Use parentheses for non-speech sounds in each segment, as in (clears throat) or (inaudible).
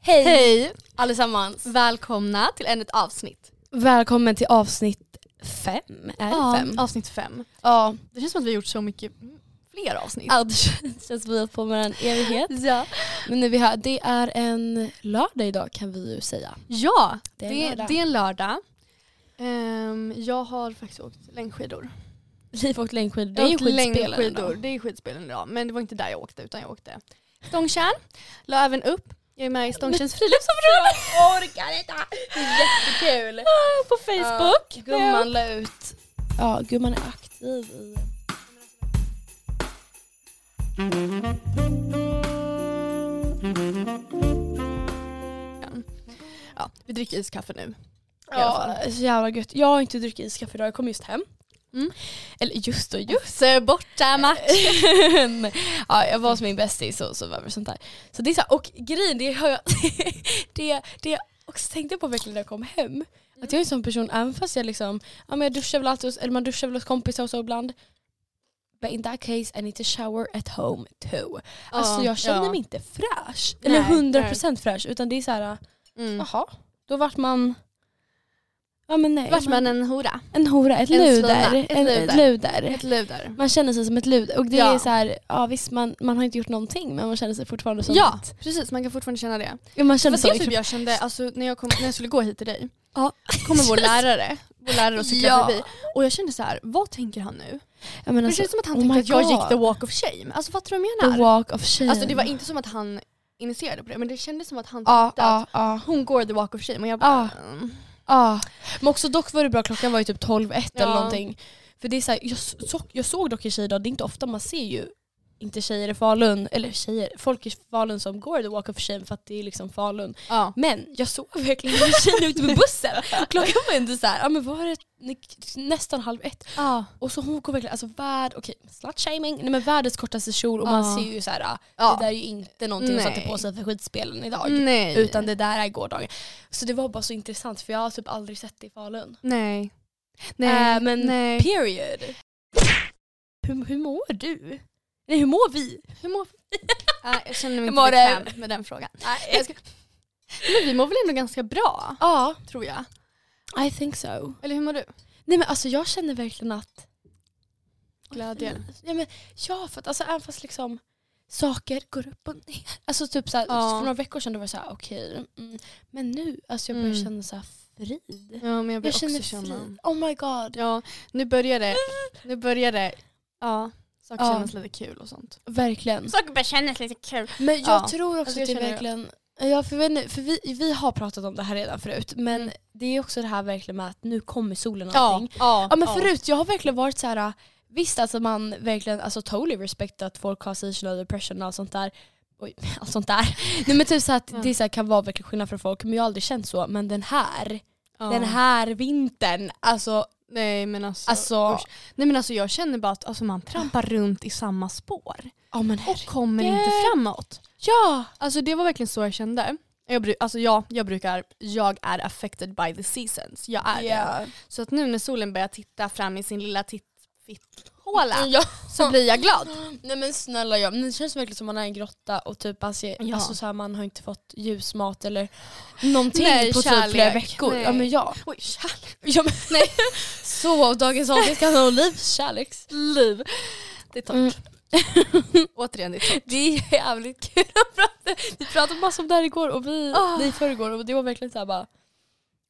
Hej, Hej! allesammans! Välkomna till ännu ett avsnitt. Välkommen till avsnitt fem. Är det fem? avsnitt fem. Ja. Det känns som att vi har gjort så mycket mm, fler avsnitt. ja, det känns som att vi har hållit på med en evighet. Ja, Men nu vi har, det är en lördag idag kan vi ju säga. ja Det det, är är en lördag. det är en lördag. Ehm, jag har faktiskt åkt längdskidor. Liv och längdskidor, det är Jag har ju åkt skidspelaren längdskidor. idag. Det är skidspelen idag. Men det var inte där jag åkte utan jag åkte Stångtjärn. La även upp. Jag är med i Stångtjärns friluftsområde. Jag orkar inte! Det är jättekul. På (laughs) Facebook. Ja, gumman la ut. Ja, gumman är aktiv i... Ja, vi dricker iskaffe nu. I alla Ja, så jävla gött. Jag har inte druckit iskaffe idag, jag kom just hem. Mm. Eller just och just, eh, borta matchen. (laughs) ja, jag var hos min bästis och så var det sånt där. Så det är så här, och grejen, det har jag, (laughs) det, det jag också tänkte på verkligen när jag kom hem. Att jag är en sån person, även fast jag liksom, ja men jag duschar väl alltid, hos- eller man duschar väl hos kompisar och så ibland. But in that case I need to shower at home too. Alltså Ja, jag känner ja. mig inte fräsch. Nej, Eller 100% fräsch utan det är så här. Mm. Jaha, då vart man... Ja men nej. Vart man en hora. En hora, ett En luder. svina, ett en, ett luder. luder. Ett luder. Man känner sig som ett luder. Och det Ja. är så här, ja visst man, man har inte gjort någonting men man känner sig fortfarande som Ja, ett... precis. Man kan fortfarande känna det. Ja, Man känner Men sig liksom- det typ jag kände alltså, när, jag kom, när jag skulle gå hit till dig, Ja. kommer (laughs) vår lärare, vår lärare och cyklade Ja. förbi. Och jag kände så här, vad tänker han nu? Ja, men det alltså, känns som att han oh my tänkte att jag God. gick the walk of shame. Alltså fattar du vad jag the menar? walk of shame. Alltså det var inte som att han initierade på det, men det kändes som att han Ja, tänkte att ja, ja. hon går the walk of shame. Och jag bara, mm. ja. Men också dock var det bra, klockan var ju typ 12, 1 eller Ja. någonting. För det är så här, jag, så, jag såg dock en tjej idag, det är inte ofta man ser ju inte tjejer i Falun, eller tjejer, folk i Falun som går the walk of shame för att det är liksom Falun. ja. Men jag såg verkligen en tjej ute med bussen. (laughs) Klockan var ändå såhär, ja men var det nästan halv ett. Ja. Och så hon går verkligen, alltså värld, okej slutshaming, nej men världens kortaste kjol och man Ja. ser ju såhär, ah, Ja. det där är ju inte någonting hon satte Nej. Mm. på sig för skidspelen idag. Nej. Utan det där är gårdagen. Så det var bara så intressant för jag har typ aldrig sett det i Falun. Nej. Nej. Äh, men Nej. period. Hur, hur mår du? Nej hur mår vi? Hur mår Ja, jag känner mig Hur mår inte du? bekväm med den frågan. Nej. Men vi mår väl ändå ganska bra, Ja, tror jag. I think so. Eller hur mår du? Nej men alltså jag känner verkligen att Glädje. Ja, men, ja för att alltså, även fast liksom saker går upp och ner. Alltså typ såhär, Ja. för några veckor sedan då var det såhär okej, mm, men nu alltså jag börjar Mm. känna såhär frid. Ja, men jag börjar Jag också känner känna. frid. Oh my god. Ja, nu börjar det, nu börjar det, ja, saker Ja. kännas lite kul och sånt. Verkligen. Saker börjar kännas lite kul. Men jag Alltså, Ja. tror också Alltså, jag att det känner är det. verkligen, ja, för, jag vet inte, för vi, vi har pratat om det här redan förut men det är också det här verkligen med att nu kommer solen och Mm. Ja, allting. ja, Ja men förut, jag har verkligen varit så här. visst alltså man verkligen, alltså totally respect att folk har seasonal depression och allt sånt där. Oj, (laughs) allt sånt där. Nej men typ så att Ja. det så här, kan vara verkligen skillnad för folk, men jag har aldrig känt så. Men den här, Ja. den här vintern, alltså, Nej men alltså, alltså usch. nej men alltså jag känner bara att alltså, man trampar runt i samma spår ja men och kommer Herregud. inte framåt. ja! Alltså det var verkligen så jag kände. Jag, bru- alltså, ja, jag brukar, jag är affected by the seasons. Jag är det. Så att nu när solen börjar titta fram i sin lilla tittfitthåla Ja. så blir jag glad. Nej men snälla jag, men det känns verkligen som man är i en grotta och typ alltså, Ja. alltså så här, man har inte fått ljusmat eller någonting Nej, på typ kärlek. flera veckor. Ja Nej. men ja. Oj, kärlek. ja men, nej. (laughs) Så dagens avsnitt kan ha liv, kärleks. liv. Det är torrt. Mm. (laughs) Återigen, det är torrt. Det är jävligt kul att prata. Vi pratade massor om det här igår och vi, Ah. det i förrgår och det var verkligen såhär bara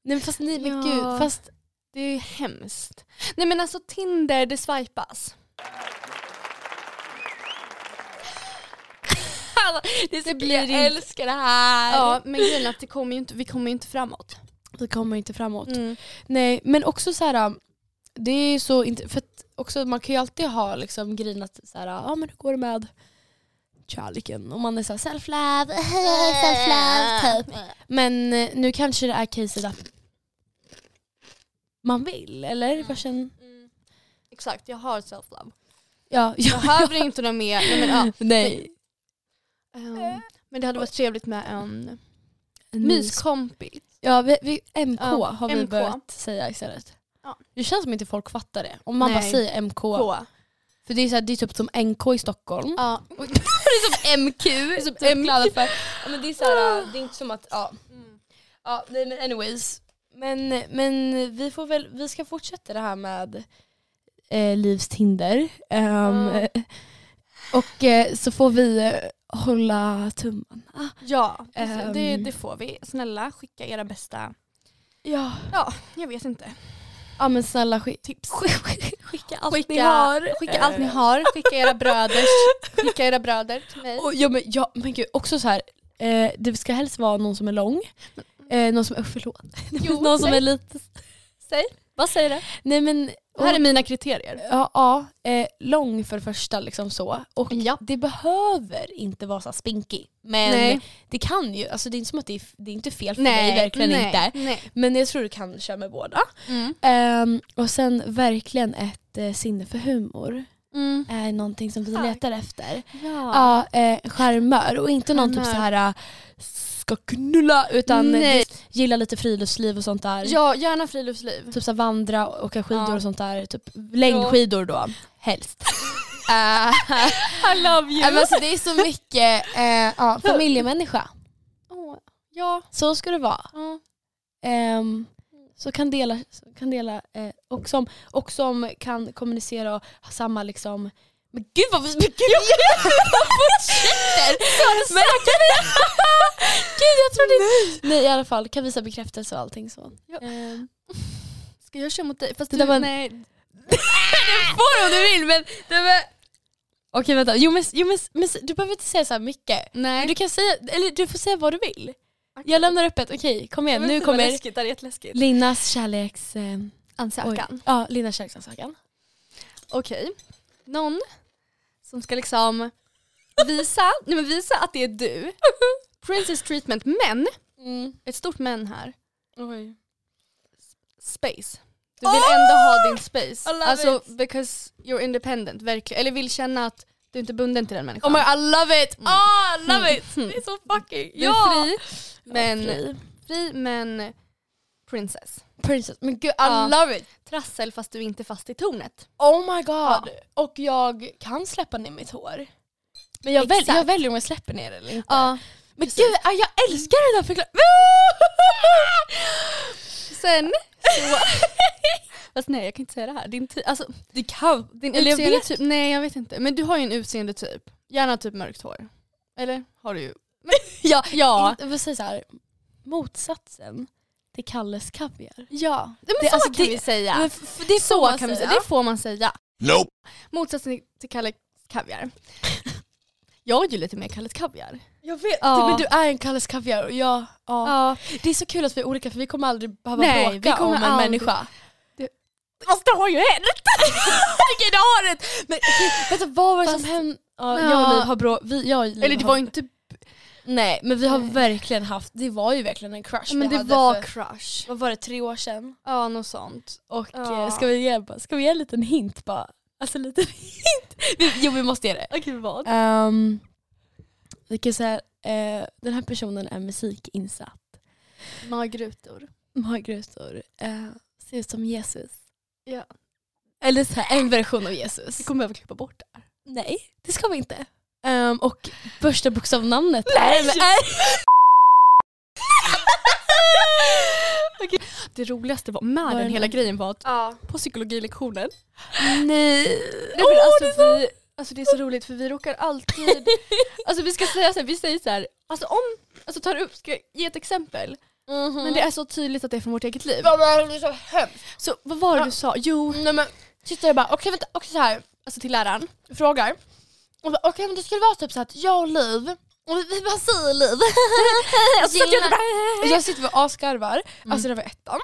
Nej men fast nej men Ja. gud, fast Det är hemskt. Nej men alltså Tinder, det swipas. det, blir blir jag inte- älskar det här. Ja, men grejen är att det kommer ju inte, vi kommer ju inte framåt. Mm. Vi kommer inte framåt. Nej men också så här. det är ju så inte, för att också, man kan ju alltid ha liksom grejen att såhär, ja men hur går det med kärleken? Om man är såhär self-love, (laughs) self-love typ. Men eh, nu kanske det är caset att man vill eller? Vad känner, Mm. Exakt, jag har self-love. ja, (laughs) ja. Behöver inte något mer. Nej, men, ja. (laughs) Nej. Ehm, men det hade varit trevligt med en Mys. myskompis. Ja, vi, vi, MK Ja, har vi MK. börjat säga istället. Ja. Det känns som inte folk fattar det. Om man Nej. bara säger MK. På. För det är, så här, det är typ som NK i Stockholm. Ja. Typ. det är som MQ. (laughs) Det (laughs) (laughs) är som Ah. MQ. För. Typ Ja, men det, är så här, det är inte som att, ja. ja nej, men anyways. Men, men vi, får väl, vi ska fortsätta det här med eh, Livs Tinder. Ehm, (laughs) Ja. Och eh, så får vi eh, hålla tummarna. Ja, precis. Ehm. det, det får vi. Snälla skicka era bästa, Ja. ja jag vet inte, ja men snälla skick, tips. skicka allt ni Skicka- har. Skicka allt ni Eh, har, (laughs) skicka era bröders, skicka era bröder till mig. Och, ja, men, ja, men gud, också så här. Eh, det ska helst vara någon som är lång. Eh, någon som är, oh, förlåt. (laughs) Jo, någon som nej. är lite... Säg. Vad säger du? Nej men... Det här är mina kriterier. Ja, ja eh, lång för det första liksom så. Och Ja. det behöver inte vara så här spinkig. Men Nej. det kan ju, alltså det är inte som att det är, det är inte fel för Nej, dig, verkligen nej, inte. Nej. Men jag tror du kan köra med båda. Mm. Ehm, och sen verkligen ett eh, sinne för humor Mm. är någonting som vi Tack. letar efter. Ja. Ja, eh, charmör och inte någon typ så Charmör. här eh, ska knulla utan Nej. gilla lite friluftsliv och sånt där. ja, (laughs) gärna friluftsliv. Typ så här vandra och åka skidor Ja. och sånt där. Typ längdskidor då, helst. Eh, I love Ja, men alltså, det är så mycket eh, ja, familjemänniska. ja. Så ska det vara. ja. Ehm, så kan dela, så kan dela eh, och, som, och som kan kommunicera och ha samma liksom men gud vad vi men gud, jag, fortsätter! Men, (laughs) gud jag trodde Nej i alla fall, kan visa bekräftelse och allting så. Ja. Ehm, Ska jag köra mot dig? Fast Det du, där var en- nej. du får det om du vill men... Det var... Okej vänta, jo, men, jo, men, men du behöver inte säga så här mycket. nej. Du kan säga, eller du får säga vad du vill. Jag lämnar öppet, okej kom igen nu Det var kommer läskigt, det är jätteläskigt. Linnas kärleks... Eh, Ansökan. oj. Ja, Linnas kärleksansökan. Okej. Någon som ska liksom visa, nej men visa att det (laughs) är du. Princess treatment, men, ett stort men här. Oj. Space. Du vill ändå ha din space. Oh! I love Alltså it. because you're independent, verkligen. Eller vill känna att du inte är bunden till den Oh människan. my I love it! Mm. Ah, I love Mm. it! Mm. Det är så fucking... du är ja! fri, men, Fri. fri men princess. Princess, men gud I Ja. love it! Trassel fast du är inte fast i tornet. Oh my god! Och jag kan släppa ner mitt hår. Men jag, väl, Exakt. jag väljer om jag släpper ner det eller inte. Ja. Men gud, ah, jag älskar den här (laughs) förklaringen! Sen så... fast nej jag kan inte säga det här. Din, ty- alltså, Det kan... din Eller jag utseende vet. typ, nej jag vet inte. Men du har ju en utseende typ. Gärna typ mörkt hår. Eller? Har du ju. (laughs) Ja, Ja. Jag vill säga så här. motsatsen till Kalles kaviar. Ja. Men Det- så alltså, kan det- vi säga. Men f- det så kan vi säga. Det får man säga. Nope. Motsatsen till Kalle Kaviar. (laughs) Jag är ju lite mer Kalle Kaviar. Jag vet, Ja. Typ, men du är en Kalles kaviar och jag... Ja. Ja. Det är så kul att vi är olika för vi kommer aldrig behöva Nej, bråka vi kommer om en aldrig- människa. Det- Fast det har ju hänt! (laughs) Vilket har hänt! Men okej, vänta, vad var det som Fast- hände? Ja, Ja. Jag och Liv har bråkat. Vi, jag och Liv Eller det har- var ju inte... Nej men vi har Nej. verkligen haft, det var ju verkligen en crush Men vi det hade för, var crush. Vad var det, tre år sedan? Ja, något sånt. Och Ja. eh, ska, vi ge, ska vi ge en liten hint bara? Alltså en liten (laughs) hint? Vi- Jo vi måste ge det. Okej, vad? Ehm, vi kan säga, eh, den här personen är musikinsatt. Magrutor. Magrutor. Uh, ser ut som Jesus. Ja. Eller så här, en version av Vi Jesus. kommer behöva klippa bort det här. Nej, det ska vi inte. Ehm, och första bokstavnamnet Nej, är... men- (laughs) Okej. Det roligaste var med Var den det hela något? grejen var att Ja. på psykologilektionen... Nej. Nej, men alltså, vi, alltså det är så roligt för vi råkar (laughs) alltid... Alltså vi ska säga så här, vi säger så här, alltså om... Alltså tar upp, ska jag ge ett exempel? Men det är så tydligt att det är från vårt eget liv. var så hemskt. Så vad var det Ja. du sa? Jo, Nej men, titta jag bara, okej vänta, okej så här. alltså till läraren. frågar. Och bara, Okej men det skulle vara typ så att jag och Liv, och vi, vi bara säger (laughs) Liv. Och så satt jag Gillar- där bara- och jag sitter och asgarvar, alltså det var ettan.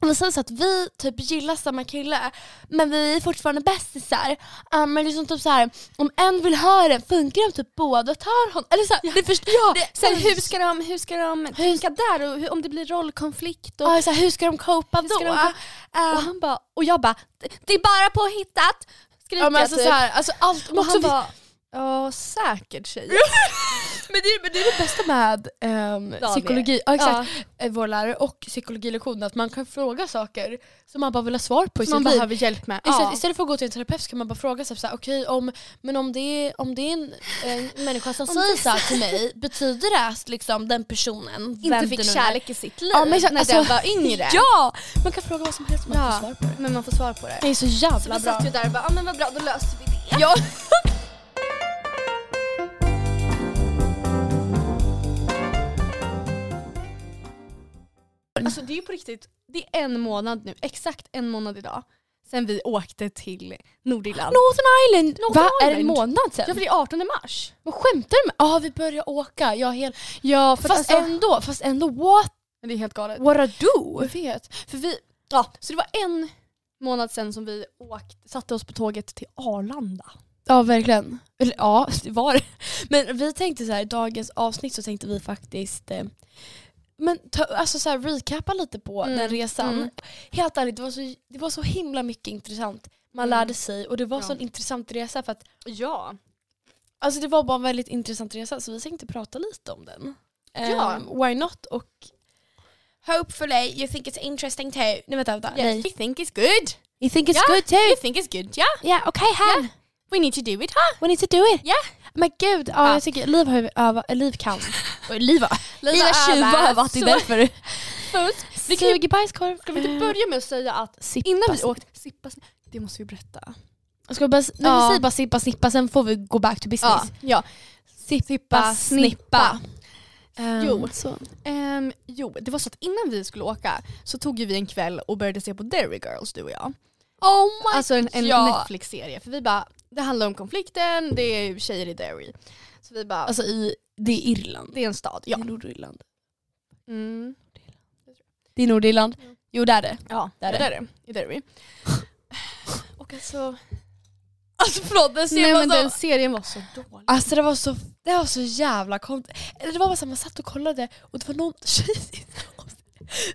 Och vi säger så att vi typ gillar samma kille men vi är fortfarande bästisar. Uh, men liksom typ så här, om en vill ha den funkar det om typ båda tar honom? Eller så här, ni förstår, Ja, det- sen hur ska de, hur ska de tänka där och hur, om det blir rollkonflikt och Ja, så här, hur ska de copa hur ska då? de gå- och han bara, och jag bara, det det är bara påhittat! Skriker ja, men alltså, jag typ. så här, alltså, allt, men och också han vi- bara, Ja, säkert (laughs) tjejer. Men det, men det är det bästa med ehm, Daniel. psykologi, ja, exakt. Ja, Eh, Vår lärare och psykologilektionen, att man kan fråga saker som man bara vill ha svar på i man sitt liv. behöver hjälp med. Istället, Ja. istället för att gå till en terapeut så kan man bara fråga sig såhär, okej om, men om det är, om det är en, (laughs) en människa som Om säger det- så här till mig, betyder det att liksom, den personen Inte vem fick det nu är- kärlek i sitt liv Ja, men exakt, när alltså, den var yngre. (laughs) Ja! Man kan fråga vad som helst man Ja. får svar på det. Men man får svar på det. Det är så jävla bra. där och bara, ah, men vad bra då löser vi det. Ja. (laughs) Alltså det är ju på riktigt, det är en månad nu, exakt en månad idag, sen vi åkte till Nordirland. Northern Island! Northern Va? Är det en Island. månad sen? Ja för det är 18 mars. Men skämtar du med Ja vi börjar åka, jag är helt... Ja Fast ändå, fast ändå what, det är helt galet. what I do? Jag vet. För vi, ja, så det var en månad sen som vi åkte, satte oss på tåget till Arlanda. Ja verkligen. Eller ja, det var det. Men vi tänkte så här, i dagens avsnitt så tänkte vi faktiskt eh, men ta, alltså så här, recappa lite på Mm, den resan. mm. Helt ärligt, det var, så, det var så himla mycket intressant man Mm. lärde sig och det var Ja. så en intressant resa för att Ja. alltså det var bara en väldigt intressant resa så vi tänkte prata lite om den. Ja. Ehm, why not och Hopefully you think it's interesting too. Nej vänta, vänta. Yes, we think it's good. You think it's Ja. good too? We think it's good, ja. Yeah, okay hen. We need to do it, ha? We need to do it. Ja. Men gud, ja, Ja. jag tycker Liv har ju övat, äh, Liv (laughs) kan. Och Liv har övat, det är Så- därför. Först, vi kan ju, Suger bajskorv. ska vi inte börja med att säga att Sippa, innan vi snippa. åkte, sippa, sn- det måste vi berätta. Ska vi bara, nej, vi Ja. säger bara sippa snippa sen får vi go back to business. ja. Sippa, snippa. Ehm, Jo. Så. Ehm, jo, det var så att innan vi skulle åka så tog ju vi en kväll och började se på Dairy Girls du och jag. Oh my Alltså en, en Ja. Netflix-serie. För vi bara, det handlar om konflikten, det är tjejer i Derry. Så vi bara, Alltså i, det är Irland. det är en stad. Ja. Ja. Det är Nordirland. Mm. Det är Nordirland. Ja. Jo det är det. Ja, Där är där är det. I (laughs) Derry. och alltså, Alltså förlåt den nej men den serien var så dålig. Alltså det var så, det var så jävla konstigt. Eller det var bara så här, man satt och kollade och det var någon tjej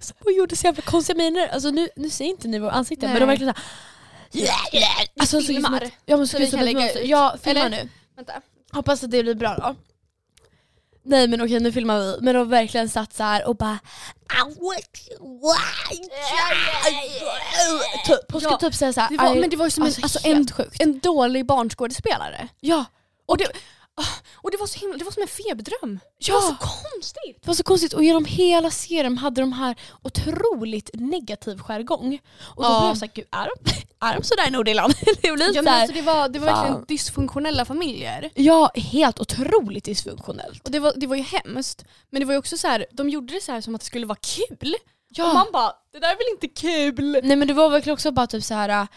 som gjorde så jävla konstiga miner. Alltså nu, nu ser inte ni våra ansikten men Nej. de var verkligen såhär Alltså, såg ut som filmar. ett- ja, men Så såg ut vi som kan ett lägga mönster. ut. Ja, filma Eller? nu. Vänta. Hoppas att det blir bra då. Nej men okej nu filmar vi. Men de verkligen satt så här och bara I want you, why? Typ, Hon skulle Ja, typ säga såhär. Det var, "I-" men det var ju som alltså, en, alltså, en, helt sjukt. en dålig barnskådespelare. Ja. Och det, ah, och det var så himla, det var som en feberdröm. Det var Ja. så konstigt. Det var så konstigt och genom hela serien hade de här otroligt negativ skärgång. Och då Ja. blev jag såhär, gud är de, är de sådär i Nordirland? (laughs) det blev Ja, men såhär- alltså, det var, det var Fan. verkligen dysfunktionella familjer. ja, helt otroligt dysfunktionellt. Och det var, det var ju hemskt. Men det var ju också så här, de gjorde det så här som att det skulle vara kul. Ja. Och man bara, det där är väl inte kul? Nej men det var verkligen också bara typ såhär,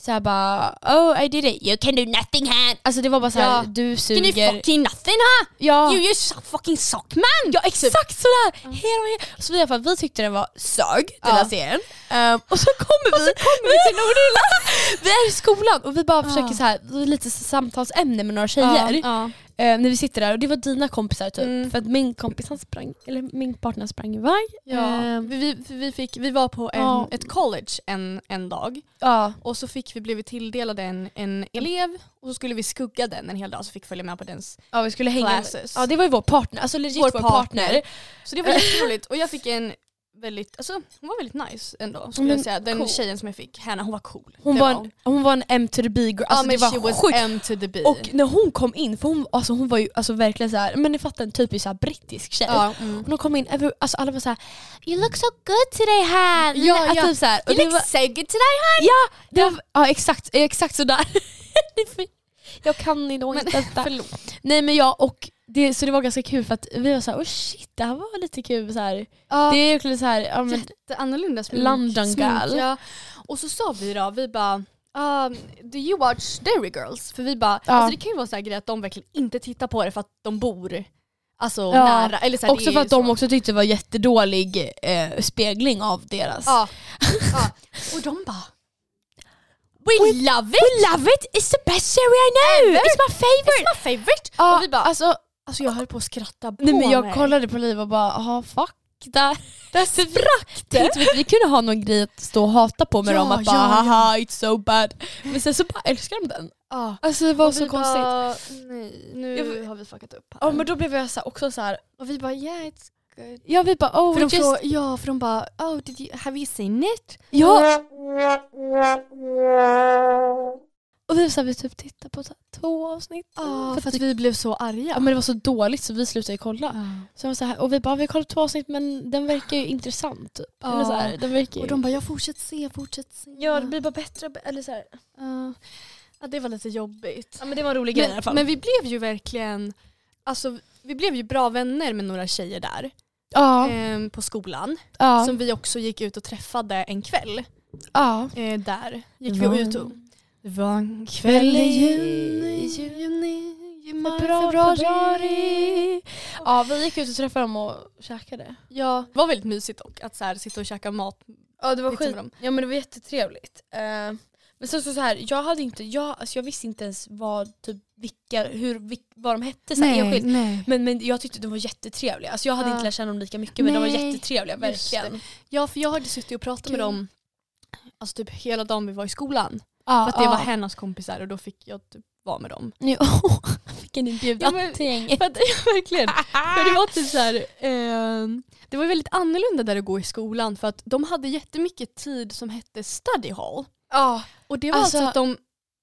såhär bara oh I did it, you can do nothing här. Alltså det var bara såhär, Ja. du Can you suger. fucking nothing ha? Ja. You just fucking suck man! Ja exakt sådär! Mm. Så vi, i alla fall, vi tyckte den var sög, den Ja. här serien. Ehm, och så kommer vi, vi till Ah. Nordirland! (laughs) vi är i skolan och vi bara försöker så här, det är lite samtalsämne med några tjejer. Ja, Eh, när vi sitter där och det var dina kompisar typ. Mm. För att min kompis han sprang, eller min partner sprang iväg. ja. Eh, Vi, vi, vi, fick, vi var på en, Ja. ett college en, en dag ja. och så fick vi, blev vi tilldelade en, en elev och så skulle vi skugga den en hel dag så fick följa med på dens. ja, vi skulle hänga med. Classes. Ja det var ju vår partner, alltså legit Vår vår, partner. partner. Så det var (laughs) jätteroligt och jag fick en väldigt, alltså hon var väldigt nice ändå skulle Men jag säga. Den Mm, cool. tjejen som jag fick, Hanna, hon var cool. Hon, Det var en, hon var en M to the B girl, alltså ja, det men she var was sjukt. M to the B. Och när hon kom in, för hon, alltså hon var ju alltså verkligen så här, men ni fattar en typisk så här brittisk tjej. ja, mm. Och hon kom in, över- alltså alla var såhär You look so good today Han! Ja, Alltså, ja. Typ så här, och You det look var, so good today hon! ja, det var, ja exakt, exakt (laughs) sådär. Ni får- jag kan inte Men- detta. Förlåt. Nej men ja, och det, så det var ganska kul för att vi var såhär oh shit det här var lite kul. Så här. Det Det är verkligen såhär, ja, är men, jätteannorlunda smink. London girl. Ja. Och så sa vi då, vi bara um, do you watch Dairy Girls? För vi bara, Ja. alltså det kan ju vara så här grej att de verkligen inte tittar på det för att de bor alltså Ja. nära. Eller så här, det är också för ju att de så. också tyckte det var jättedålig eh, spegling av deras. Ja. ja. Och de bara (laughs) We, love it! We love it, it's the best serie I know! It's my favorite! It's my favorite! Ja, och vi bara, alltså, alltså, jag höll på att skratta på nej, men jag mig. kollade på Liv och bara, ja fuck. Där. Där sprack det! Tänkte vi att vi kunde ha någon grej att stå och hata på med Ja, dem, att bara ja, ja. haha it's so bad. Men sen så bara älskar de den. Ah. Alltså det var Och så vi konstigt. bara, Nej, nu Jag var- har vi fuckat upp här. Ja men då blev jag så här, också så här. Och vi bara yeah it's good. ja vi bara oh För just, de frågar, ja, för de bara oh did you, have you seen it? ja. Och vi, så här, vi typ tittade på så här, två avsnitt. Ja, för för att att vi blev så arga. Ja men det var så dåligt så vi slutade ju kolla. Ja. Så jag var så här, och vi bara vi har kollat två avsnitt men den verkar ju intressant. Typ. Ja. Eller så här, den verkar ju... Och de bara jag fortsätter se, fortsätter se. ja det blir bara bättre och bä- eller så här. Ja. ja det var lite jobbigt. Ja men det var en rolig grej i alla Men, fall. men vi blev ju verkligen, alltså vi blev ju bra vänner med några tjejer där ja, ehm, på skolan. ja, Som vi också gick ut och träffade en kväll. ja. Eh, där gick Det var- vi ut och... Det var en kväll i juni, juni, maj, Februari. Ja vi gick ut och träffade dem och käkade. Ja, det var väldigt mysigt dock att så här, sitta och käka mat. Ja det var Liksom skit. dem. Ja men det var jättetrevligt. Eh, men sen så, så här, jag hade inte, jag, alltså jag visste inte ens vad, typ, vilka, hur, vil, vad de hette så här, enskilt. nej. Men, men jag tyckte de var jättetrevliga. Alltså jag hade Ja. inte lärt känna dem lika mycket men de var Nej, jättetrevliga just det. verkligen. Ja, för jag hade suttit och pratat med Gud. dem alltså, typ hela dagen vi var i skolan. Ja, För att det var hennes kompisar och då fick jag typ vara med dem. Nu, (laughs) vilken inbjudan Ja, men- till (laughs) gänget. För att, ja, verkligen. För (laughs) det var typ så här, ehm, det var väldigt annorlunda där att gå i skolan för att de hade jättemycket tid som hette study hall. Ja, Och det var Alltså- alltså, att de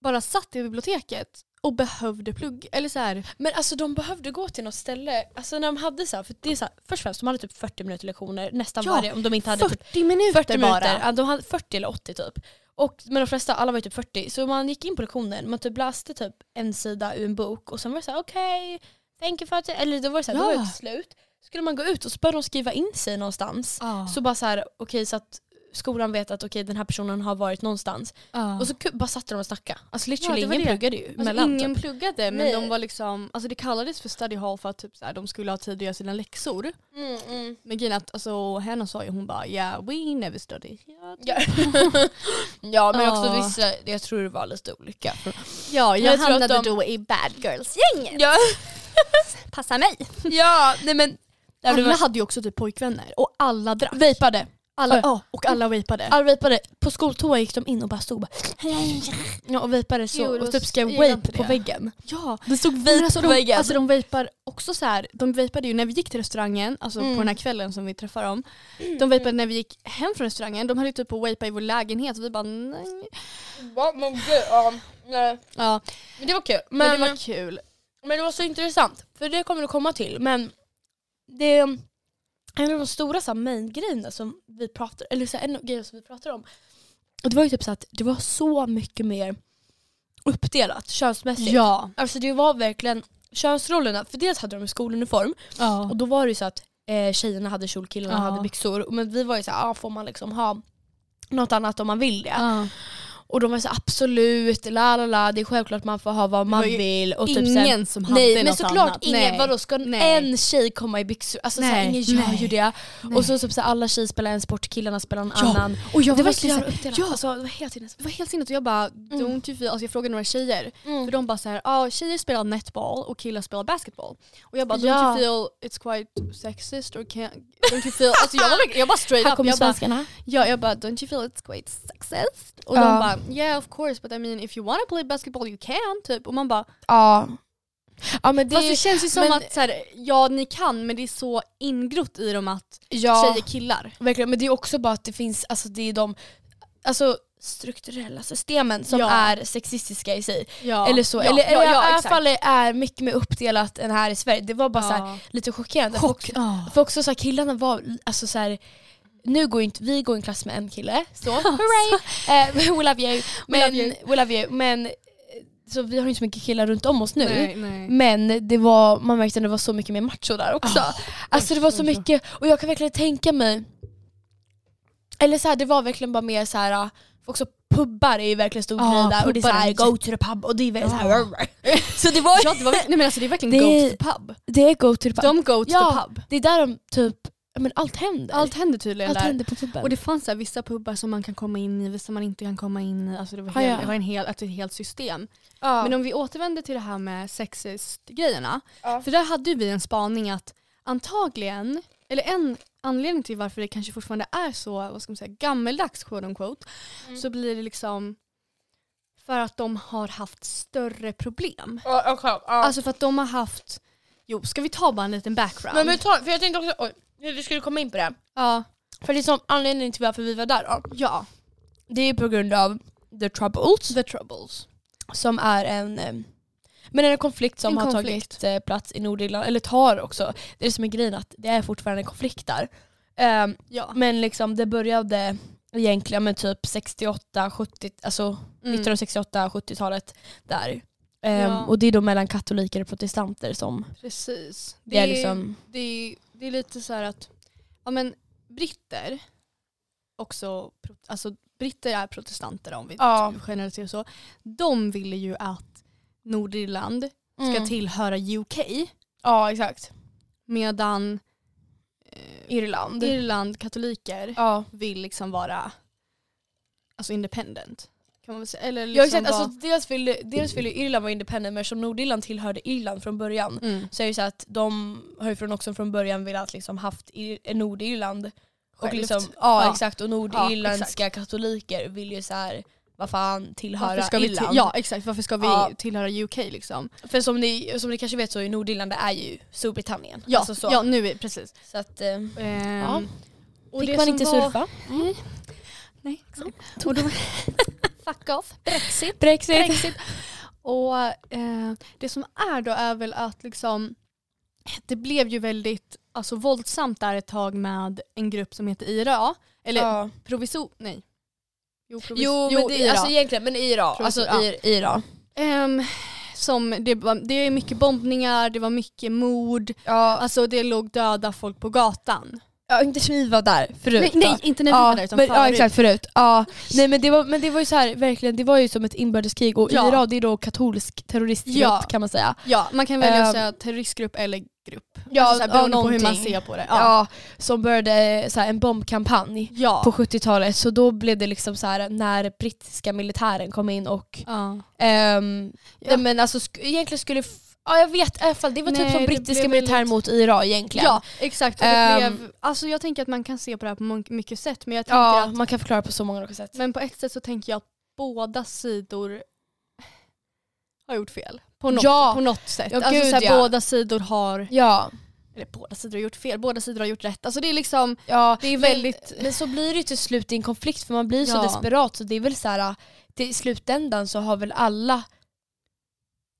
bara satt i biblioteket och behövde plugga. Eller så här, men alltså de behövde gå till något ställe, alltså när de hade så här, för det är så här, först och främst de hade typ 40 minuter lektioner nästan Ja, varje om de inte hade 40 typ minuter 40 minuter, bara. Ja, de hade 40 eller 80 typ. Och, men de flesta, alla var ju typ 40, så man gick in på lektionen, man typ läste typ en sida ur en bok och sen var det så här: okej, thank you for that. Eller då var det så här, då var Ja. det ett slut. Skulle man gå ut och så började de skriva in sig någonstans. Ah. Så bara så här, okej så att skolan vet att okej den här personen har varit någonstans. Och så ku- bara satt de och snackade. Alltså literally Ah. Ja, det var ingen det. pluggade ju alltså, Ah. mellan. ingen typ. pluggade men Nej. de var liksom, alltså det kallades för study hall för att typ så här, de skulle ha tid att göra sina läxor. Mm, mm. Men grejen är att alltså, henne sa ju hon bara yeah we never study. Ja. (laughs) ja men Ja. också vissa, jag tror det var lite olika. Ja jag hamnade då i bad girls-gänget. Ja, Passa mig. ja nej men. Ja, det Alla var- hade ju också typ pojkvänner och alla drack. Vejpade. Alla, Oj. ja, och alla vejpade. Alla vejpade. På skoltoa gick de in och bara stod och bara, ja, och vejpade så Jo, det var och typ så- skrev jag gillar vape inte på det. väggen. Ja, Det stod Men vape alltså, på de, väggen. alltså de vejpar också så här. De vejpade ju när vi gick till restaurangen, alltså Mm. på den här kvällen som vi träffade dem. De vejpade när vi gick hem från restaurangen. De höll ju typ på att vejpa i vår lägenhet och vi bara nej. Ja, men gud, ja, nej. Ja, Men det var kul. men, det var kul. Men det var så intressant, för det kommer du komma till. Men det är en av de stora så här, main-grejerna som vi pratar eller så här, en av grejerna som vi pratar om. Och det var ju typ så att det var så mycket mer uppdelat könsmässigt. Ja. Alltså det var verkligen könsrollerna, för dels hade de en skoluniform och ja. då var det ju så att eh, tjejerna hade kjol, killarna Ja. hade byxor. Men vi var ju så här, ah, får man liksom ha något annat om man vill det? Ja. Och de var så här, absolut, la la la, det är självklart man får ha vad man var ju vill. Och typ så här, Ingen som hade Nej men något såklart annat. ingen, Nej. vadå ska Nej. en tjej komma i byxor? Alltså Nej. såhär, ingen gör Nej. ju det. Nej. Och så, så, så här, alla tjejer spelar en sport, killarna spelar en Ja. annan. Och jag det var var så verkligen jävla såhär, uppdelat. ja. Alltså, det var helt inne. det var helt sinnet och jag bara don't you feel, alltså jag frågade några tjejer. Mm. För de bara såhär, ah, tjejer spelar netball och killar spelar basketball. Och jag bara don't Ja. you feel it's quite sexist or can't, don't you feel, alltså jag, var, verkligen- jag bara straight Här up. kommer Jag bara, svenskarna. Ja, jag bara don't you feel it's quite success? Och Ja. de bara yeah of course but I mean if you wanna play basketball you can typ. Och man bara Ja. Ja men det fast är det känns ju som men- att så här, ja ni kan men det är så ingrott i dem att ja, tjejer killar. verkligen. Men det är också bara att det finns, alltså det är de alltså, strukturella systemen som Ja. är sexistiska i sig. Ja. Eller så. Ja, eller eller ja, ja, i alla exakt. fall är mycket mer uppdelat än här i Sverige. Det var bara Ja. så här, lite chockerande. Chock. Folk- För också så här, killarna var, alltså så här, nu går ju inte, vi går i en klass med en kille, (laughs) så hooray! (laughs) Eh, we love you. Men, love you. we love you. Men, eh, så vi har ju inte så mycket killar runt om oss nu. Nej, nej. Men det var, man märkte att det var så mycket mer macho där också. alltså det var så oj, oj. mycket, och jag kan verkligen tänka mig, eller så här, det var verkligen bara mer så här, ah, också pubbar är ju verkligen stor Ja, grej där och det Ah, är så pubbar är här, Ah. jätte- go to the pub och det är väldigt så Ja. här, så det var Ja, det var, nej men alltså det är verkligen Det- go to the pub. det är go to the pub. De go to Ja. the pub. det är där de typ, ja, men allt händer. Allt händer tydligen Allt där. händer på puben. Och det fanns så här, vissa pubbar som man kan komma in i, vissa man inte kan komma in i. Alltså det var, Ah, hel, ja. det var en hel, ett helt system. ja. Men om vi återvänder till det här med sexist-grejerna. Ja. För där hade ju vi en spaning att antagligen, eller en anledning till varför det kanske fortfarande är så vad ska man säga, gammeldags quote unquote, Mm. så blir det liksom för För att de har haft större problem. Ja, ja, klart. Ja. Alltså för att de har haft, jo ska vi ta bara en liten background? men vi tar, för jag tänkte också, oj, vi skulle komma in på det. ja, För liksom anledningen till varför vi var där då, ja, det är på grund av The Troubles the troubles. som är en eh, men en konflikt som En har konflikt. tagit eh, plats i Nordirland, eller tar också. Det är det som är grejen, att det är fortfarande en konflikt där. Ehm, Ja. men liksom det började egentligen med typ 68, 70, alltså Mm. 1968, 70-talet där. Ehm, Ja. Och det är då mellan katoliker och protestanter som Precis. det är liksom, det, är- det är lite så här att ja, men britter också, pro- alltså britter är protestanter om vi Ja. generaliserar så. De ville ju att Nordirland ska Mm. tillhöra UK Ja exakt. medan eh, Irland. Irland, katoliker, ja. vill liksom vara alltså independent. Kan man väl säga. Eller Ja liksom exakt, vara- alltså, dels, ville, dels ville Irland vara independent men som Nordirland tillhörde Irland från början mm. så är det så att de har ju från, också från början velat liksom haft Ir- Nordirland. Och Självt. liksom, ja, Ja. exakt, och nordirländska katoliker vill ju så här, vad fan tillhöra Varför ska vi till, Irland. ja exakt, varför ska vi Ja. tillhöra UK liksom? För som ni, som ni kanske vet så är Nordirland det är ju Storbritannien. Ja, Alltså så. ja nu är precis. så att, eh, Ehm, och det fick man som inte var- surfa. Nej, exakt. Och då, fuck off, Brexit. Brexit. Brexit. Och eh, det som är då är väl att liksom, det blev ju väldigt alltså, våldsamt där ett tag med en grupp som heter IRA. Eller Ja. proviso... Nej. Jo, provis- Jo, men det, IRA. alltså egentligen, men IRA. Alltså Ja. I- IRA. Ehm, som det, var, det är mycket bombningar, det var mycket mord, Ja, alltså det låg döda folk på gatan. ja, inte så vi var där förut Nej, va? nej inte när vi ja, var där utan men, förut. ja exakt förut. Ja. Nej, men, det var, men det var ju så här, verkligen, det var ju som ett inbördeskrig och Ja. IRA det är då katolsk terroristgrupp Ja. kan man säga. Ja, man kan välja Ehm. att säga terroristgrupp eller grupp. Ja, alltså, så här, ja, beroende på hur man någonting. ser på det. Ja. som började så här, en bombkampanj Ja. på 70-talet så då blev det liksom så här när brittiska militären kom in och ja. ehm, Ja. nej, men alltså sk- egentligen skulle f- Ja jag vet i alla fall, det var Nej, typ som det brittiska blev militären väldigt- mot IRA egentligen. ja, exakt. Och det Ehm. blev, alltså jag tänker att man kan se på det här på mång- mycket sätt men jag tänker Ja, att, man kan förklara på så många olika sätt. men på ett sätt så tänker jag att båda sidor har gjort fel. På något, Ja. på något sätt. Ja, alltså, gud, så här, ja. Båda sidor har, Ja, eller båda sidor har gjort fel, båda sidor har gjort rätt. Alltså det är liksom, ja det är Men- väldigt, Men så blir det ju till slut i en konflikt för man blir så Ja. desperat så det är väl så här till slutändan så har väl alla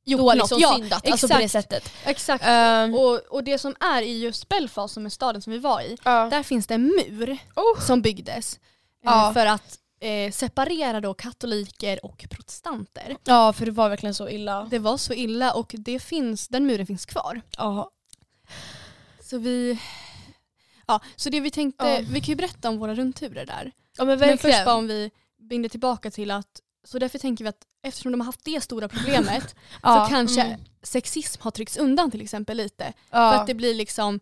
Gjort då något. liksom Ja, syndat alltså på exakt. det sättet. exakt. Ehm, Och, och det som är i just Belfast som är staden som vi var i, ja. där finns det en mur Oh. som byggdes eh, Ja. för att eh, separera då katoliker och protestanter. ja för det var verkligen så illa. Det var så illa och det finns, den muren finns kvar. Ja. Så vi, ja, så det vi tänkte, Ja. vi kan ju berätta om våra rundturer där. ja men Men verkligen. först bara om vi binder tillbaka till att, så därför tänker vi att eftersom de har haft det (laughs) stora problemet ja. så kanske mm. sexism har tryckts undan till exempel lite. ja. För att det blir liksom,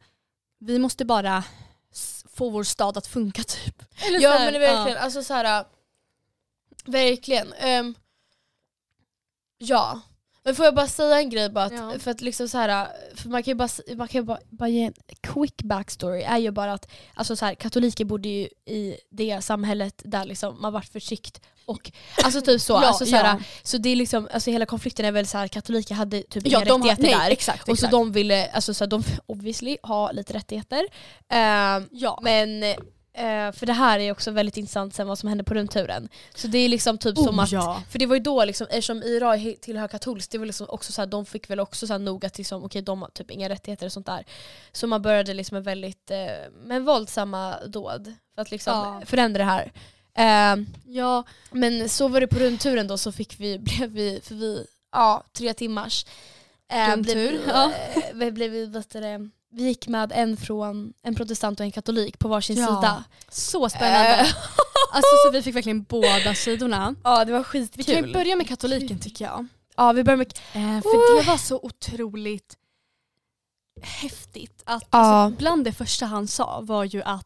vi måste bara s- få vår stad att funka typ. Eller så Ja här, men det är verkligen, alltså så här, verkligen. Ehm, ja. Men får jag bara säga en grej bara, att, Ja. för att liksom så här, för man kan ju bara, s- man kan ju bara, bara ge en quick backstory, är ju bara att alltså så här, katoliker bodde ju i det samhället där liksom man varit förtryckt och alltså typ så. (laughs) Ja, alltså så, här, ja. så det är liksom, alltså hela konflikten är väl så här, katoliker hade typ Ja, inga de har, rättigheter nej, där. exakt. och så exakt. de ville, alltså så här, de (laughs) obviously ha lite rättigheter. Ehm, ja. men, eh, för det här är också väldigt intressant sen vad som hände på rundturen. Så det är liksom typ som att, Oh, ja. för det var ju då liksom, eftersom IRA he- tillhör katolskt, det var liksom också så här, de fick väl också så här noga till som, okej de har typ inga rättigheter och sånt där. Så man började liksom en väldigt, eh, men våldsamma dåd för att liksom Ja. förändra det här. Eh, Ja, men så var det på rundturen då så fick vi, (laughs) blev vi, för vi, ja tre timmars eh, Rundtur, blev vi, ja. eh, vi, blev vi, vad heter det, vi gick med en från en protestant och en katolik på varsin Ja. sida. så spännande. (laughs) Eh. Alltså så vi fick verkligen båda (laughs) sidorna. Ja det var Vi skitkul. kan ju börja med katoliken tycker jag. ja vi börjar med Eh, för Oh. det var så otroligt häftigt. Att, Ja. alltså, bland det första han sa var ju att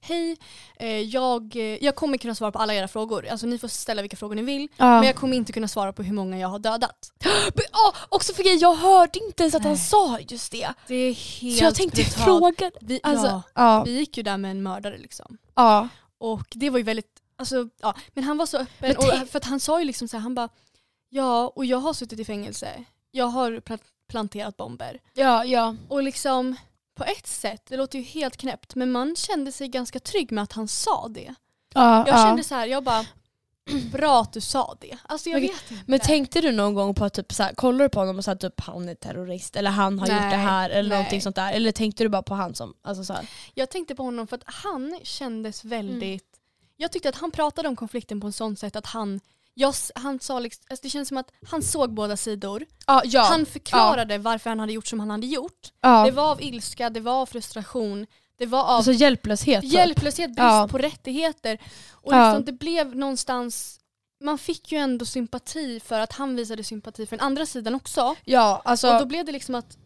Hej, eh, jag, eh, jag kommer kunna svara på alla era frågor. Alltså ni får ställa vilka frågor ni vill. ja. Men jag kommer inte kunna svara på hur många jag har dödat. Men, ja, också för grejen, jag hörde inte ens att han Nej. sa just det. Det är helt så jag tänkte brutalt. fråga. Vi, alltså, ja, Ja. vi gick ju där med en mördare liksom. ja. Och det var ju väldigt, alltså, ja, men han var så öppen. Men Och, tänk- för att han sa ju liksom så här, han bara Ja, och jag har suttit i fängelse. Jag har pla- planterat bomber. Ja, ja. Och liksom på ett sätt, det låter ju helt knäppt, men man kände sig ganska trygg med att han sa det. ja, Jag ja. kände så här, jag bara (clears throat) bra att du sa det. Alltså jag Men- vet inte. Men Men tänkte du någon gång på att typ, såhär, kollar du på honom och sa typ han är terrorist eller han har gjort Nej, det här eller nej. någonting sånt där? Eller tänkte du bara på han som, alltså såhär, jag tänkte på honom för att han kändes väldigt, Mm. jag tyckte att han pratade om konflikten på en sån sätt att han, jag, s- han sa liksom, alltså det känns som att han såg båda sidor. ja, ja, Han förklarade varför han hade gjort som han hade gjort. ja. Det var av ilska, det var av frustration, det var av alltså hjälplöshet. typ. Hjälplöshet, brist Ja. på rättigheter. Och Ja. liksom, det blev någonstans, man fick ju ändå sympati för att han visade sympati för den andra sidan också. Ja, alltså, Och då blev det liksom att,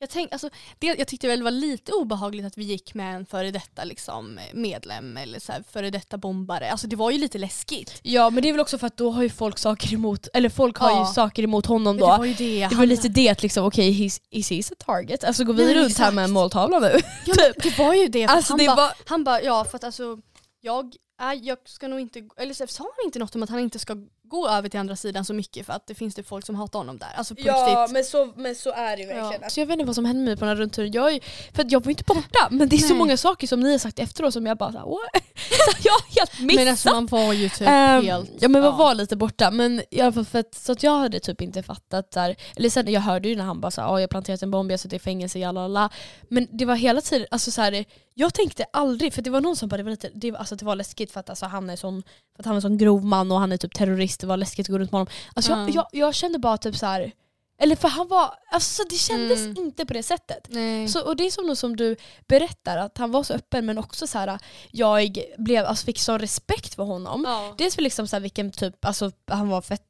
jag, tänk, alltså, det, jag tyckte väl det var lite obehagligt att vi gick med en före detta liksom, medlem eller så här, före detta bombare. Alltså det var ju lite läskigt. ja men det är väl också för att då har ju folk saker emot, eller folk har Ja. ju saker emot honom Men då. det var ju det. Det var han- lite det att liksom, okej he's, is he's a target? Alltså går vi Nej, runt här exakt. med en måltavla nu? ja, men det var ju det. för Alltså han det bara- var, Han bara, ja för att alltså jag, är, jag ska nog inte, eller så sa han inte något om att han inte ska gå över till andra sidan så mycket för att det finns det folk som hatar honom där. Alltså på riktigt. men så, men så är det ju verkligen. Alltså, jag vet inte vad som hände mig på den här rundturen. Jag, är ju- för att jag var ju inte borta men det är så Nej. många saker som ni har sagt efteråt som jag bara såhär, what? (laughs) Så jag har helt missat. Men alltså man var ju typ Ehm, helt... ja men man ja. var lite borta. Men i alla fall för att, så att jag hade typ inte fattat där. Eller sen jag hörde ju när han bara sa ah, jag har planterat en bomb, jag har suttit i fängelse, jalala. Men det var hela tiden, alltså så här, jag tänkte aldrig, för det var någon som bara det var lite, det, var- alltså, det var läskigt för att alltså, han är sån, för att han är sån grov man och han är typ terrorist, det var läskigt att gå runt med honom. Alltså Ja. jag, jag, jag kände bara typ så här. eller för han var, alltså det kändes Mm. inte på det sättet. Nej. Så, och det är som, som du berättar, att han var så öppen men också så här, jag blev, alltså, fick sån respekt för honom. ja. Dels för liksom så här vilken typ, alltså han var fett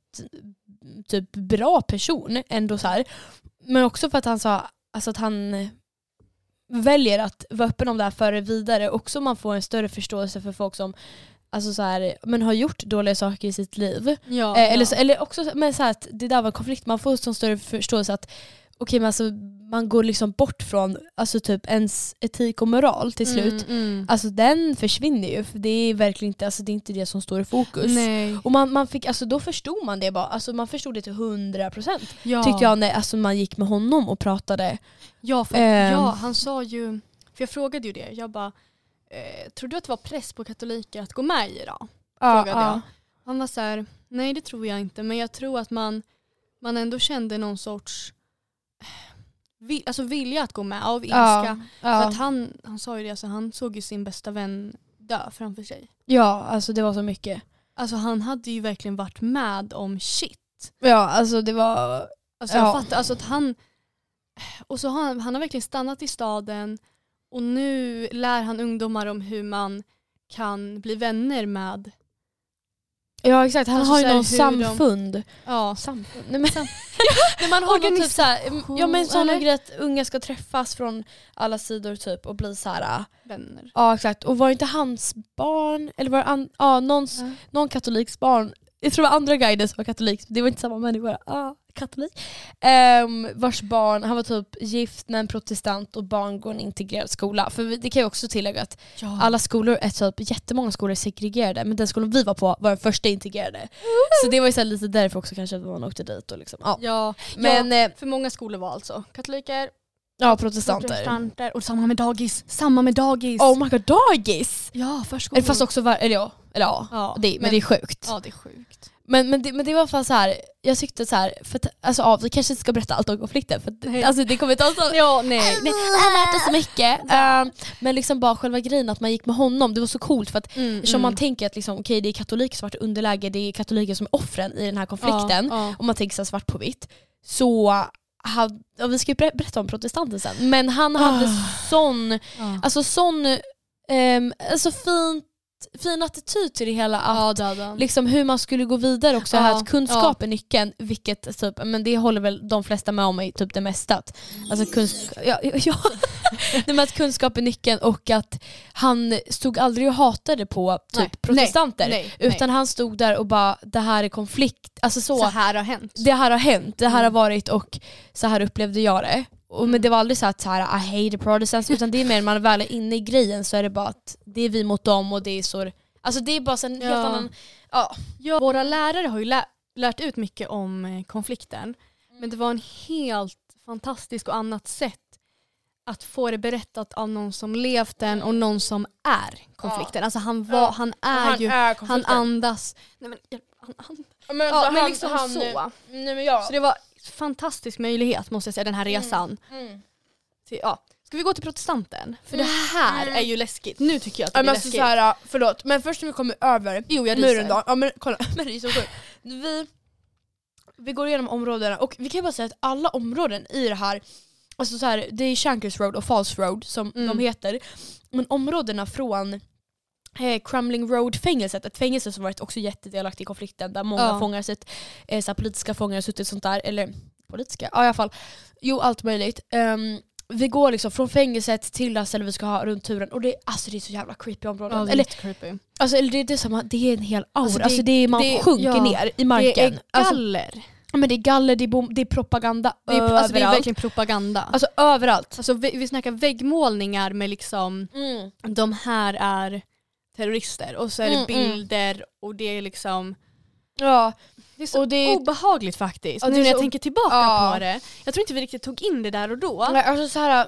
typ bra person ändå så här. Men också för att han sa alltså att han väljer att vara öppen om det här före vidare. Också man får en större förståelse för folk som alltså så här, men har gjort dåliga saker i sitt liv. ja, Eh, eller, ja. så, eller också så- men så här att det där var en konflikt, man får en sån större förståelse att okej men alltså, man går liksom bort från alltså typ ens etik och moral till slut. Mm, mm. Alltså den försvinner ju, för det är verkligen inte, alltså, det, är inte det som står i fokus. Nej. Och man, man fick, alltså, då förstod man det bara, alltså, man förstod det till 100% procent Ja. tyckte jag när alltså, man gick med honom och pratade. Ja, för, Ehm. ja, han sa ju, för jag frågade ju det, jag bara eh, tror du att det var press på katoliker att gå med i idag? frågade jag. Han var så här, nej det tror jag inte men jag tror att man, man ändå kände någon sorts eh, vil, alltså vilja att gå med av ilska. Ja, För att ja. han, han sa ju det, alltså, han såg ju sin bästa vän dö framför sig. ja, alltså det var så mycket. Alltså han hade ju verkligen varit med om shit. Ja, alltså det var... Alltså, jag Ja. fattar, alltså att han, och så har han, han har verkligen stannat i staden och nu lär han ungdomar om hur man kan bli vänner med, Ja exakt, han Alltså, har ju så här, någon hur de- samfund. ja, Samfund? Nej, men... när man har någon typ så här, ja men sådana eller? grejer att unga ska träffas från alla sidor typ och bli så här. vänner. Ja exakt, och var inte hans barn, eller var det an- ja, någons, Ja. någon katoliks barn, jag tror det var andra guiden som var katolik, det var inte samma människa, ah, katolik. Ehm, vars barn, han var typ gift med en protestant och barn går i en integrerad skola. För vi- det kan jag också tillägga att Ja. alla skolor är typ, jättemånga skolor är segregerade men den skolan vi var på var den första integrerade. Så det var ju så här lite därför också kanske att man åkte dit och liksom, ja. Ja, Men ja, för många skolor var alltså katoliker, ja protestanter. protestanter och samma med dagis. Samma med dagis. Oh my god, dagis! Ja, förskolor. Eller fast också, var- eller ja, eller ja. ja, Det, men, det är sjukt. ja, det är sjukt. Men, men, det, men det var i alla fall så här. jag tyckte så här, för att, alltså, ja, vi kanske inte ska berätta allt om konflikten för att, Nej. alltså, det kommer ta så Ja, nej. (laughs) Nej, han lärde så mycket. Ehm, men liksom bara själva grejen att man gick med honom, det var så coolt för att Mm, som man tänker att liksom, okej det är katoliker som varit i underläge, det är katoliker som är offren i den här konflikten. mm. Ja, ja. Om man tänker så här svart på vitt. Så hade, ja, vi ska ju ber- berätta om protestanten sen, men han hade Ah. sån, Ja. alltså sån, ehm, alltså fint, fin attityd till det hela. Att, ja, det hade han. liksom hur man skulle gå vidare också, Ja, här, att kunskap är nyckeln, vilket typ, men det håller väl de flesta med om i typ det mesta. Att, alltså kunsk- ja, ja, (laughs) ja. Nej, men att kunskap är nyckeln och att han stod aldrig och hatade på typ Nej, protestanter. nej, nej. utan han stod där och bara, det här är konflikt, alltså så, Så här har hänt. det här har hänt, det här har Mm. varit och så här upplevde jag det. Och, men det var aldrig så att så här, I hate the protestants, utan det är mer man väl är inne i grejen så är det bara att det är vi mot dem och det är så Alltså det är bara så en helt Ja. annan, ja. Ja, våra lärare har ju lä- lärt ut mycket om eh, konflikten. Men det var en helt fantastisk och annat sätt att få det berättat av någon som levt den och någon som är konflikten. Alltså han, var, Ja. han Och är han ju, är han konflikten. andas. Nej men, hjälp, han andas. Ja, men, Ja, han, men liksom han, så. Nej men ja. Så det var en fantastisk möjlighet måste jag säga, den här resan. Mm. Till, ja. Ska vi gå till protestanten? För det här är ju läskigt. Nu tycker jag att det Ja, är men alltså läskigt. så här, förlåt, men först när vi kommer över jo jag muren ryser. då. Ja, men, kolla, (laughs) Marie är så sjuk. Vi, vi går igenom områdena och vi kan ju bara säga att alla områden i det här, alltså så här, det är Shankers Road och Falls Road som Mm. de heter. Men områdena från eh, Crumbling Road-fängelset, ett fängelse som varit också jättedelaktigt i konflikten där många Ja. fångar suttit, eh, så här, politiska fångar har suttit sånt där, eller politiska, ja i alla fall. Jo allt möjligt. Ehm, vi går liksom från fängelset till där stället vi ska ha runt turen och det, alltså, det är så jävla creepy områden. Ja, det är eller jättecreepy. Alltså eller det, det, är samma, det är en hel aura, alltså Alltså, det, det- är, man det- sjunker ja. ner i marken. Det är alltså, galler. men det är galler, det är, bom, det är propaganda det, är, överallt. alltså, det är verkligen propaganda. Alltså, alltså överallt. vi, vi snackar väggmålningar med liksom Mm. de här är terrorister och så är Mm, det bilder och det är liksom Ja. det är så Och det är- obehagligt faktiskt. Ja, det nu är när jag så- tänker tillbaka Ja. på det. Jag tror inte vi riktigt tog in det där och då. Nej, alltså så här,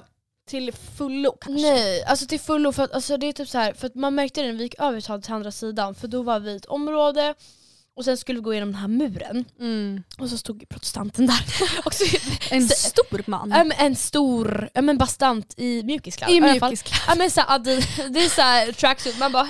Till fullo kanske. nej, alltså till fullo. För att, alltså, det är typ så här, för att man märkte det när vi gick över till till andra sidan, för då var vi i ett område och sen skulle vi gå igenom den här muren Mm. och så stod protestanten (laughs) där. och så, En Så- stor man. äm, en stor, äm, en bastant i mjukiskladd. I alla fall. mjukisklass. Ja men så här, det, det är såhär tracksuit, man bara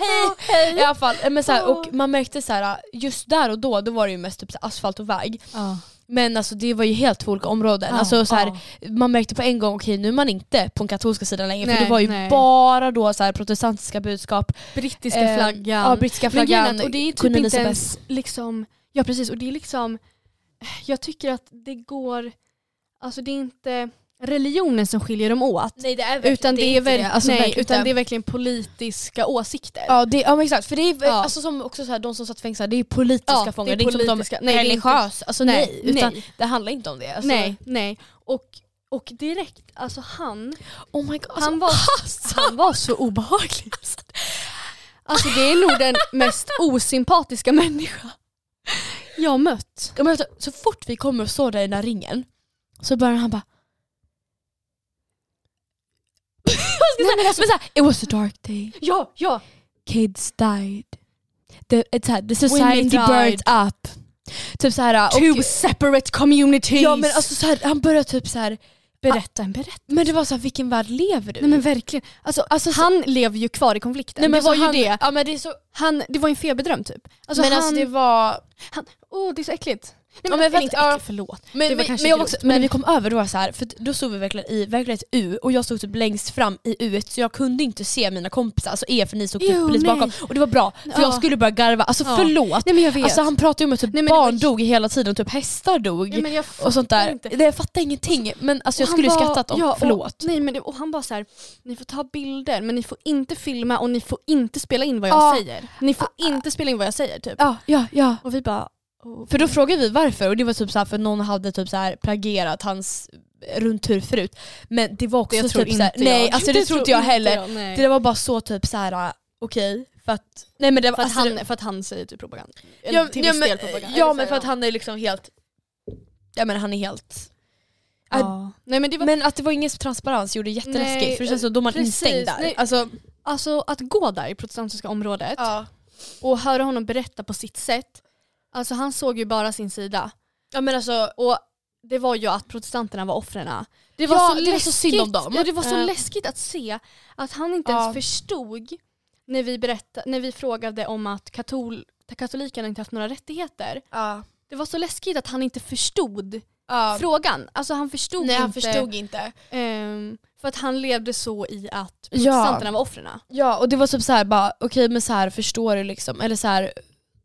hej! I alla fall. Men så här, och man märkte så här, just där och då, då var det ju mest typ så här asfalt och väg. (laughs) Ja. Men alltså det var ju helt två olika områden. alltså, så här, Man märkte på en gång, okej nu är man inte på den katolska sidan längre för Nej, det var ju nej. bara då så här, protestantiska budskap. Brittiska Eh, flaggan. Ja, brittiska Men flaggan. grejen är att- och det är typ kunde inte visa ens liksom, ja precis och det är liksom, jag tycker att det går, alltså det är inte religionen som skiljer dem åt. Nej det är Utan det, är inte väl, Alltså, nej, verkligen utan inte. det är verkligen politiska åsikter. Ja, det, ja men exakt, för det är Ja. alltså, som också så här, de som satt fängslade, det är ju politiska Ja, fångar, det det är är, inte som politiska- de nej, det är inte- religiös, alltså nej, nej, utan nej. det handlar inte om det. Alltså, nej, nej. Och, och direkt, alltså han, Oh my god, alltså, han, var, han var (laughs) så obehaglig. Alltså det är nog den mest osympatiska människa jag mött. Ja, men vänta, så fort vi kommer och står där i den där ringen så börjar han bara (laughs) Jag ska säga- alltså- men så här, It was a dark day, Ja, ja. kids died. The, it's här, the Women society died. burnt up. Typ så här, och, Two separate communities. ja, men alltså så här, han börjar typ så här. berätta en berättelse. men det var så här, vilken värld lever du i? Nej men verkligen. Alltså, han lever ju kvar i konflikten. Nej, men det var ju han, det. Ja, men det är så, Han, det var ju en feberdröm typ. Alltså, men han, alltså det var... han, oh, det är så äckligt. Nej, men eller vänta, inte ja. äckligt, förlåt. Men, Det var vi- kanske men, jag var grovt, också, men när vi kom över då, var det så här, för då stod vi verkligen i verkligen ett U och jag stod typ längst fram i U så jag kunde inte se mina kompisar, alltså er för ni stod Jo, typ lite nej. bakom. Och det var bra, för jag Ja. skulle börja garva. Alltså Ja. förlåt. Nej men jag vet. Alltså han pratade ju om att typ Nej, men det barn var- dog hela tiden, typ hästar dog. nej, men jag och sånt där. inte. Nej, jag fattar ingenting men alltså, jag han skulle ju var- skrattat om ja, förlåt. Och, nej, men det, och han bara så här, ni får ta bilder men ni får inte filma och ni får inte spela in vad jag Ja. Ah, säger. Ni får inte spela in vad jag säger typ. Ja, ja, ja. Och vi bara, oh, För då frågade vi varför och det var typ så här för någon hade typ så här plagierat hans rundtur förut. Men det var också det typ tror så här, inte jag. nej alltså det, tror inte jag heller. jag, nej. Det där var bara så typ så här äh, okej, för att... Nej men det var, för, att alltså, det- han, för att han säger typ propaganda. Eller ja, till ja, viss men, del propaganda. ja Eller men så för här, att han är liksom helt... Ja men han är helt... ja. Ja. Nej men det var Men att det var ingen transparens gjorde det jätteläskigt Nej, för det känns som då man är precis, instängd där. nej. Alltså, Alltså att gå där i protestantiska området ja. och höra honom berätta på sitt sätt. Alltså han såg ju bara sin sida. ja men alltså... Och det var ju att protestanterna var offren. Det var, Ja, så, det läskigt. var så synd om dem. Ja, det var så Ja. läskigt att se att han inte Ja. ens förstod när vi, berätta, när vi frågade om att katol, katolikerna inte haft några rättigheter. Ja. Det var så läskigt att han inte förstod Ja. frågan. Alltså han förstod Nej inte. han förstod inte. ehm, för att han levde så i att Ja. protestanterna var offren. Ja och det var typ så här bara okej men så här förstår du liksom eller så här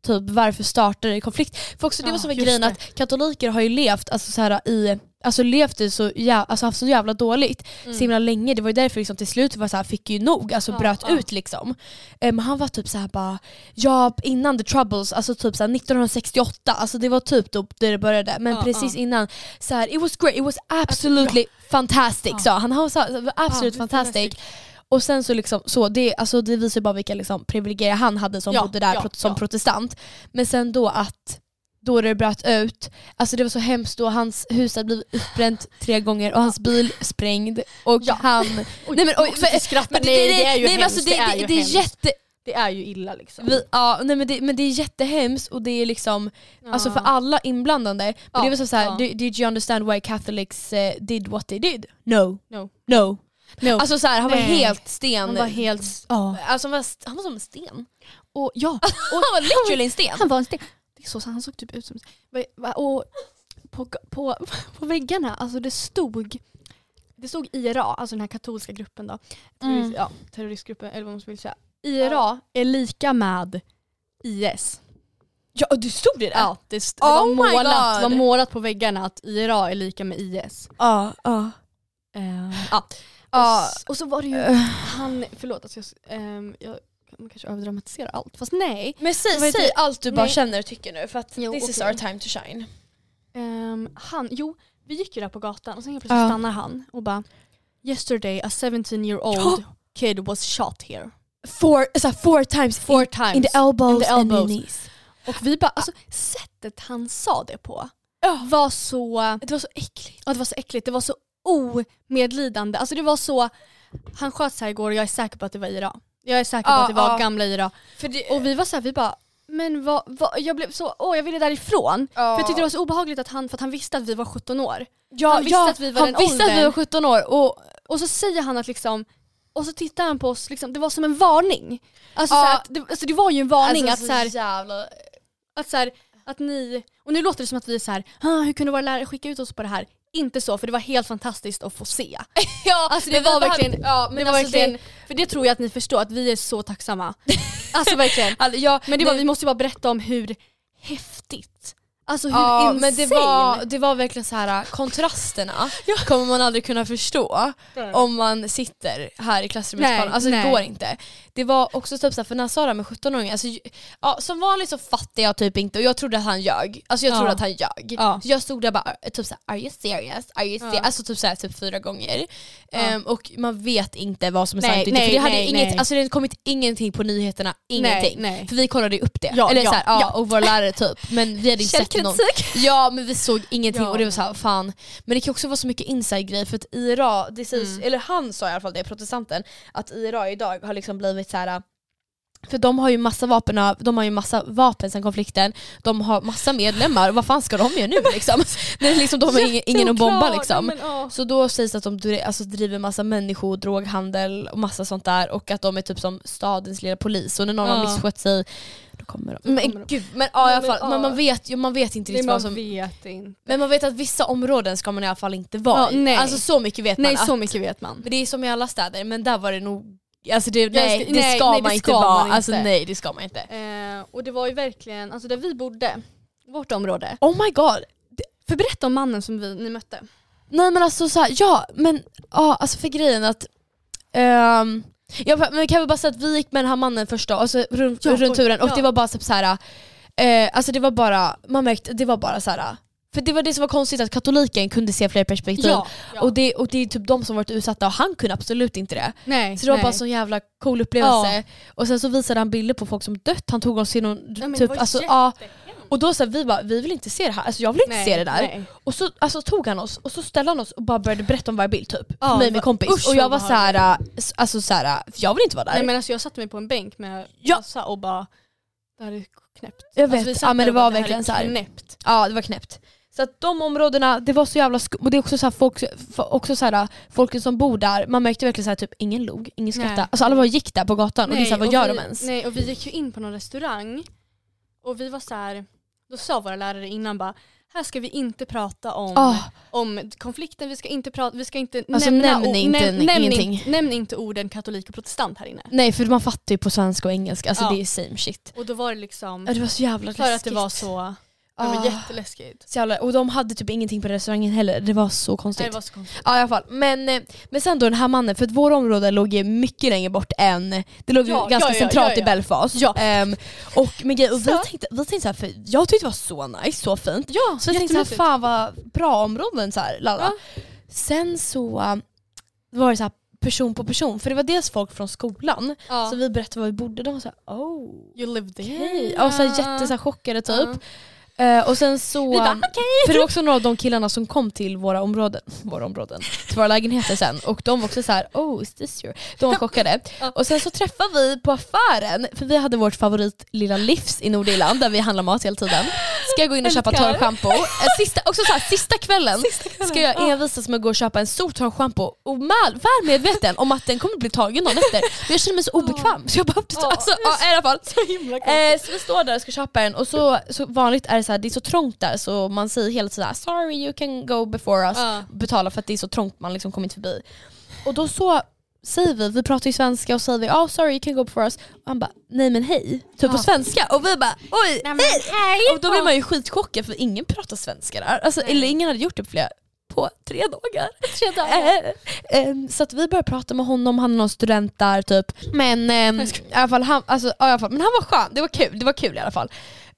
typ varför startade det konflikt? För också det var Ja, som en just grejen det. att katoliker har ju levt alltså så här, i Alltså levt i så jävla, alltså haft så jävla dåligt så himla länge. Det var ju därför liksom till slut var så här, fick ju nog, alltså Mm. Ja, bröt ja. ut liksom. Eh, Men han var typ så här bara, ja innan the troubles, alltså typ så här 1968, alltså det var typ då det började. Men Ja, Alltså, precis innan, så här, it was great, it was absolutely fantastic Ja. sa han. Han sa det var absolut det är fantastic. Och sen så liksom, så det, alltså det visar ju bara vilka liksom privilegier han hade som Ja, bodde där ja, pro- som ja. protestant. Men sen då att då det bröt ut. Alltså det var så hemskt då, hans hus hade blivit utbränt tre gånger och hans bil sprängd. Och han... (laughs) Oj, Nej men oj, men- skrattar. men nej, det är ju nej, men hemskt. alltså, det, det, det är jätte... det är ju illa liksom. Vi, ja, nej, men, det, men det är jättehemskt och det är liksom, alltså för alla inblandande. Men Ja, det är väl så här, ja. "Did- did you understand why Catholics eh, did what they did? No. No. No. No. Alltså så här, han var Nej. helt sten. han var helt... ja. Alltså han var, st- han var som en sten. Och, ja, han var literally en sten. han var en sten. Det är så, så han såg typ ut som... va- va- Och på, på, (laughs) på väggarna, alltså det stod... Det stod IRA, alltså den här katolska gruppen då. Terrorist, Mm. ja, terroristgruppen eller vad man vill säga. IRA är lika med IS. ja, du stod det där? Ja, det, st- Oh det, var my målat, det God. var målat på väggarna att IRA är lika med IS. Ja. ja. Ja. Eh, Ja. Eh. Och, s- och så var det ju han, förlåt att alltså jag, ehm, jag man kanske överdramatiserar allt, fast nej. Men Det var säg, inte- säg allt du bara Nej. känner och tycker nu för att Jo, this is okej. our time to shine. Ehm, han, jo, vi gick ju där på gatan och sen helt plötsligt Ja. stannar han och bara Yesterday a 17 year old kid was shot here. Four, så här, four times Four (laughs) times. elbows, In the elbows. knees. och vi bara, alltså sättet han sa det på var så, Det var så äckligt. ja, det var så äckligt, det var så omedlidande. Alltså det var så, han sköts här igår och jag är säker på att det var IRA. Jag är säker på Ja, att det var ja. gamla IRA. För det, Och vi var så här, vi bara, men vad, vad, jag blev så, åh jag ville därifrån. För jag tyckte det var så obehagligt att han, för att han visste att vi var 17 år. ja, han visste ja, att vi var han den visste att vi åldern. var 17 år och Och så säger han att liksom, och så tittar han på oss, liksom, det var som en varning. Alltså, Ja. så här, att, det, alltså det var ju en varning Alltså, att, så här, jävla... att, så här, att ni, och nu låter det som att vi är så här, "Ah, hur kunde våra lärare skicka ut oss på det här? Inte så, för det var helt fantastiskt att få se. (laughs) Ja, Alltså det men var vi behöver- verkligen, ja, det men var alltså, verkligen det- för det tror jag att ni förstår, att vi är så (laughs) tacksamma. alltså verkligen. Alltså, ja, Men det var, vi måste ju bara berätta om hur häftigt, alltså hur ja, insane. men det var, det var verkligen så här äh, kontrasterna kommer man aldrig kunna förstå om man sitter här i klassrummet. Nej, Nej, alltså det nej. går inte. Det var också typ så här, för Nazara med 17-åringen, alltså, ju- ja, som vanligt så fattade jag typ inte och jag trodde att han ljög. Alltså jag Ja. trodde att han ljög. Ja. Så jag stod där och bara typ såhär, are you serious? Are you serious? Ja. Alltså typ såhär typ fyra gånger. Ja. Ehm, och man vet inte vad som är Nej, sant och inte. nej, För det hade nej, inget, nej. alltså det hade kommit ingenting på nyheterna, ingenting. nej. För vi kollade ju upp det. Ja, Eller ja, så här, ja, ja. och vår lärare typ. Men vi hade inte sett någon. Ja men vi såg ingenting Ja. och det var så här, fan. Men det kan också vara så mycket inside-grej för att IRA, det sägs, Mm. eller han sa i alla fall det, protestanten, att IRA idag har liksom blivit så här. För de har ju massa vapen, av- de har ju massa vapen sen konflikten, de har massa medlemmar, vad fan ska de göra nu liksom? (laughs) När det liksom de har ingen, ingen att bomba Såklart, liksom. men, ja. Så då sägs det att de dri- alltså, driver massa människor, och droghandel och massa sånt där och att de är typ som stadens lilla polis och när någon har Ja. misskött sig då kommer de. Då Men kommer de. gud, men ja, i alla Nej, men, fall, man, ja. man, vet, ju- man vet inte Nej, riktigt man vad som... vet inte. Men man vet att vissa områden ska man i alla fall inte vara Ja, i. nej. Alltså så mycket vet Nej man. så att, mycket vet man. men det är som i alla städer men där var det nog... Alltså det, ska- nej, det nej, ska nej, det man inte ska vara. man inte. Alltså nej det ska man inte. Eh, och det var ju verkligen, alltså där vi bodde, vårt område. Oh my god. För berätta om mannen som vi, ni mötte. Nej men alltså så här, ja men ja, alltså för grejen att... ehm, ja, men vi kan väl bara säga att vi gick med den här mannen först då, alltså runt, Ja, runt oj, turen och ja. det var bara typ så här. eh, alltså det var bara, man märkte, det var bara så här. För det var det som var konstigt att katoliken kunde se fler perspektiv. ja. Och, det, och det är typ de som varit utsatta och han kunde absolut inte det. nej, Så det var nej. bara en sån jävla cool upplevelse. Och sen så visade han bilder på folk som dött, han tog oss till någon... men det typ, var alltså, ja, jättehemskt. och då sa vi bara, vi vill inte se det här, alltså, jag vill inte Nej, se det där. nej. Och så alltså, tog han oss och så ställde han oss och bara började berätta om varje bild typ. för Ja, mig och min vad- kompis. usch, och vad jag var såhär, äh, s- alltså såhär, äh, jag vill inte vara där. Nej men alltså jag satte mig på en bänk med Ja. Assa och bara, det här är knäppt. jag vet, Alltså, vi satt ja, men där det och bara, var här verkligen är såhär. knäppt. Ja det var knäppt. Så att de områdena, det var så jävla skum- och det är också såhär folk, f- också såhär, folken som bor där, man märkte verkligen såhär typ ingen log, ingen Nej. skrattade. Alltså alla bara gick där på gatan och det är såhär, vad gör vi, de ens? Nej och vi gick ju in på någon restaurang och vi var så här. då sa våra lärare innan bara, här ska vi inte prata om Ah. om konflikten, vi ska inte prata, vi ska inte Alltså, nämna nämn o- inte näm- nämn, ingenting. inte- nämn inte orden katolik och protestant här inne. Nej för man fattar ju på svenska och engelska, alltså Ja. det är same shit. Och då var det liksom, Ja, det var så jävla läskigt. för att det var så, det var Ah. jätteläskigt. Så jävla, och de hade typ ingenting på restaurangen heller, det var så konstigt. Nej, det var så konstigt. Ja i alla fall. Men, eh, men sen då den här mannen, för att våra områden låg ju mycket längre bort än, det låg ju Ja, ganska ja, ja, centralt ja, ja. i Belfast. Ja. Ehm, och men grej, och vi Så. tänkte, vi tänkte så här, för jag tyckte det var så nice, så fint. Ja, Så vi tänkte så här, fan vad bra områden så här, lalala. Sen så eh, var det så här person på person, för det var dels folk från skolan, Ja. så vi berättade var vi bodde, de var såhär oh. You lived there. Okej, okay. så här, jätte så här, chockade typ. Eh, och sen så... Vi bara (laughs) okej. För det var också några av de killarna som kom till våra områden, våra områden, till våra lägenheter sen och de var också så här: oh is this your... De var chockade. Och sen så träffade vi på affären, för vi hade vårt favorit lilla Livs i Nordirland där vi handlar mat hela tiden. Ska jag gå in och köpa Älskar. torrschampo. Eh, Sista, också så här, sista kvällen ska jag envisas med att gå och köpa en stor torrschampo och väl, väl medveten om att den kommer bli tagen någon efter. Men jag känner mig så obekväm så jag bara upp till alltså, ja, i alla fall. Eh, så vi står där och ska köpa en och så, så vanligt är det så här, det är så trångt där så man säger hela tiden så här, sorry you can go before us, Ja. betala för att det är så trångt man liksom kommer inte förbi. Och då så säger vi, vi pratar ju svenska och säger vi oh sorry you can go before us och han bara nej men hej, typ på svenska och vi bara oj hej! Och då blir man ju skitchockad för ingen pratar svenska där, alltså, eller ingen hade gjort det på flera på tre dagar. Tre dagar. Eh, ehm, så att vi började prata med honom, han är någon student där typ. Men, ehm, i alla fall, han, alltså, ja, i alla fall, men han var skön, det var kul, det var kul i alla fall.